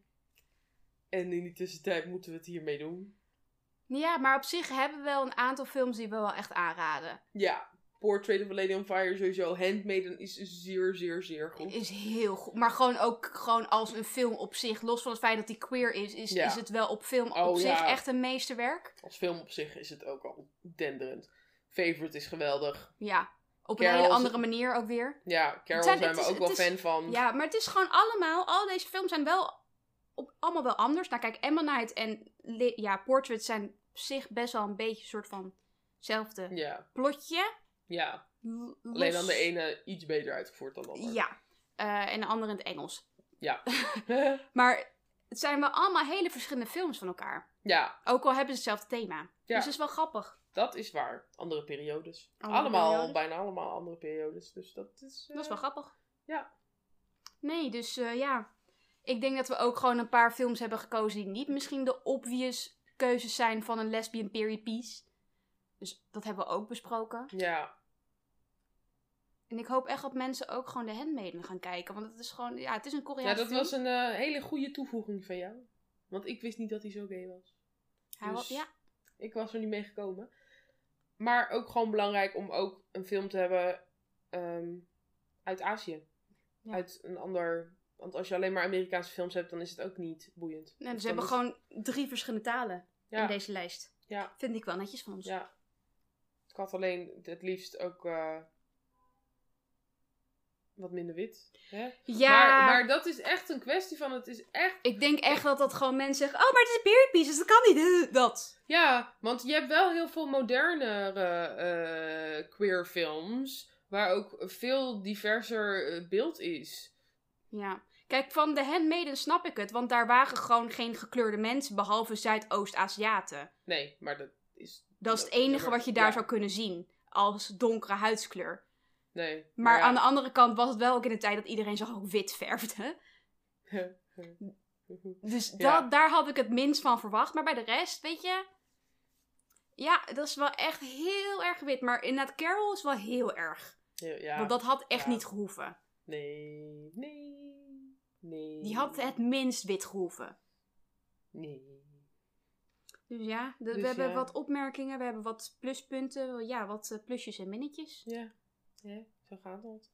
A: En in die tussentijd moeten we het hiermee doen.
B: Ja, maar op zich hebben we wel een aantal films die we wel echt aanraden.
A: Ja. Portrait of a Lady on Fire sowieso. Handmaiden is zeer, zeer, zeer goed.
B: Is heel goed. Maar gewoon ook gewoon als een film op zich. Los van het feit dat die queer is, is,
A: Ja.
B: is het wel op film
A: Oh,
B: op zich
A: ja.
B: echt een meesterwerk.
A: Als film op zich is het ook al denderend. Favorite is geweldig.
B: Ja. Op een
A: Carol
B: hele
A: is- Mm.
B: andere manier ook weer.
A: Ja, Carol
B: zijn-
A: zijn,
B: het
A: we
B: is-
A: ook wel
B: het is-
A: fan van.
B: Ja, maar het is gewoon allemaal. Al deze films zijn wel op, allemaal wel anders. Nou, kijk, Emma Knight en Li- ja, Portrait zijn op zich best wel een beetje een soort van hetzelfde
A: Ja,
B: plotje.
A: ja.
B: L-
A: Alleen
B: los-
A: dan de ene iets beter uitgevoerd dan de ander.
B: Ja, Eh, en de andere in het Engels.
A: Ja.
B: Maar het zijn wel allemaal hele verschillende films van elkaar.
A: [LAUGHS] ja,
B: Ook al hebben ze hetzelfde thema. Dus dat is wel grappig.
A: dat is waar. Andere periodes.
B: Andere
A: allemaal,
B: periodes.
A: bijna allemaal andere periodes. Dus dat is... eh,
B: Dat is wel grappig.
A: ja.
B: Nee, dus eh, ja. Ik denk dat we ook gewoon een paar films hebben gekozen die niet misschien de obvious keuzes zijn van een lesbian period piece. Dus dat hebben we ook besproken.
A: Ja,
B: En ik hoop echt dat mensen ook gewoon de handmaiden gaan kijken. Want het is gewoon, ja, het is een
A: ja
B: Koreaanse
A: dat
B: film.
A: was een eh, hele goede toevoeging van jou. Want ik wist niet dat hij zo gay was.
B: Hij wa-
A: dus-
B: ja,
A: Ik was er niet mee gekomen. Maar ook gewoon belangrijk om ook een film te hebben ehm, uit Azië.
B: Ja.
A: Uit een ander... Want als je alleen maar Amerikaanse films hebt, dan is het ook niet boeiend.
B: nee,
A: Dus
B: ze hebben
A: dan is-
B: gewoon drie verschillende talen
A: Ja.
B: in deze lijst.
A: Ja.
B: Vind ik wel netjes van ons.
A: Ja. Ik had alleen het liefst ook eh, wat minder wit. Hè?
B: Ja,
A: Maar, maar dat is echt een kwestie van het is echt...
B: ik denk echt dat dat gewoon mensen zeggen... Oh, maar het is een period piece, dus dat kan niet. [LAUGHS] Eh, Dat.
A: Ja, want je hebt wel heel veel modernere eh, queer films... waar ook veel diverser eh, beeld is.
B: Ja. Kijk, van de handmaiden snap ik het. Want daar waren gewoon geen gekleurde mensen, behalve Zuidoost-Aziaten.
A: Nee, maar dat is...
B: Dat is het enige
A: maar-
B: wat je daar
A: ja,
B: zou kunnen zien. Als donkere huidskleur.
A: Nee.
B: Maar
A: Nou ja.
B: aan de andere kant was het wel ook in de tijd dat iedereen zich ook wit verfde. [LAUGHS] Dus
A: Ja.
B: dat, daar had ik het minst van verwacht. Maar bij de rest, weet je. Ja, dat is wel echt heel erg wit. Maar inderdaad, Carol is wel heel erg.
A: [LAUGHS] ja.
B: Want dat had echt
A: Ja.
B: niet gehoeven.
A: Nee, nee, nee.
B: Die had het minst wit gehoeven.
A: Nee.
B: Dus ja, de-
A: Dus
B: we hebben
A: ja.
B: wat opmerkingen, we hebben wat pluspunten, ja, wat eh, plusjes en minnetjes.
A: Ja, ja zo gaat dat.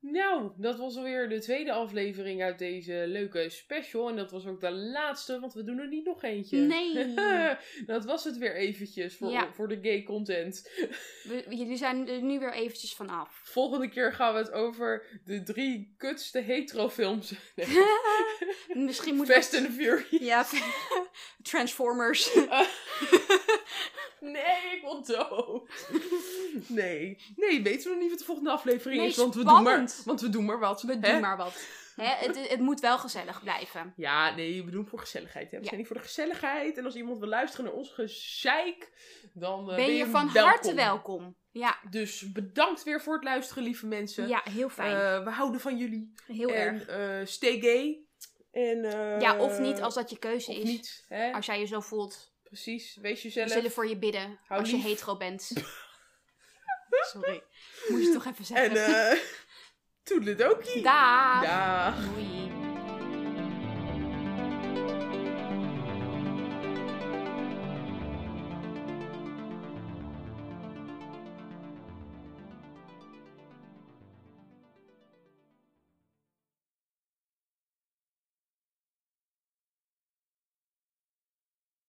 A: Nou, dat was alweer de tweede aflevering uit deze leuke special. En dat was ook de laatste, want we doen er niet nog eentje.
B: Nee.
A: [LAUGHS] dat was het weer eventjes voor,
B: Ja.
A: voor de gay content.
B: We- jullie zijn er nu weer eventjes
A: [LAUGHS]
B: vanaf.
A: Volgende keer gaan we het over de drie kutste heterofilms. [LAUGHS] Nee,
B: Misschien moeten
A: Fast
B: we...
A: and Fury.
B: Ja, [LAUGHS]
A: [LAUGHS]
B: Transformers.
A: Nee, ik wil dood. Nee. Nee, weten we nog niet wat de volgende aflevering
B: Nee,
A: is. Want we, doen maar,
B: spannend.
A: want we doen maar wat.
B: We
A: hè? Eh,
B: doen maar wat. Hè, het, het moet wel gezellig blijven.
A: Ja, nee, we doen het voor gezelligheid. Hè? We
B: Ja.
A: zijn hier voor de gezelligheid. En als iemand wil luisteren naar ons gezeik, dan eh,
B: ben je van
A: welkom.
B: harte welkom. Ja,
A: Dus bedankt weer voor het luisteren, lieve mensen.
B: ja heel fijn.
A: Eh, we houden van jullie.
B: heel
A: en
B: erg.
A: eh, stay gay. En, eh,
B: Ja, of niet als dat je keuze
A: of
B: is.
A: niet, hè?
B: Als jij je zo voelt,
A: Precies, wees
B: we
A: jezelf.
B: zullen voor je bidden.
A: Hou
B: als
A: lief.
B: je
A: [LAUGHS]
B: hetero bent. Sorry. Moest je toch even
A: En
B: zeggen.
A: eh [LAUGHS] toedeledokie.
B: Daag.
A: Daag.
B: Doei.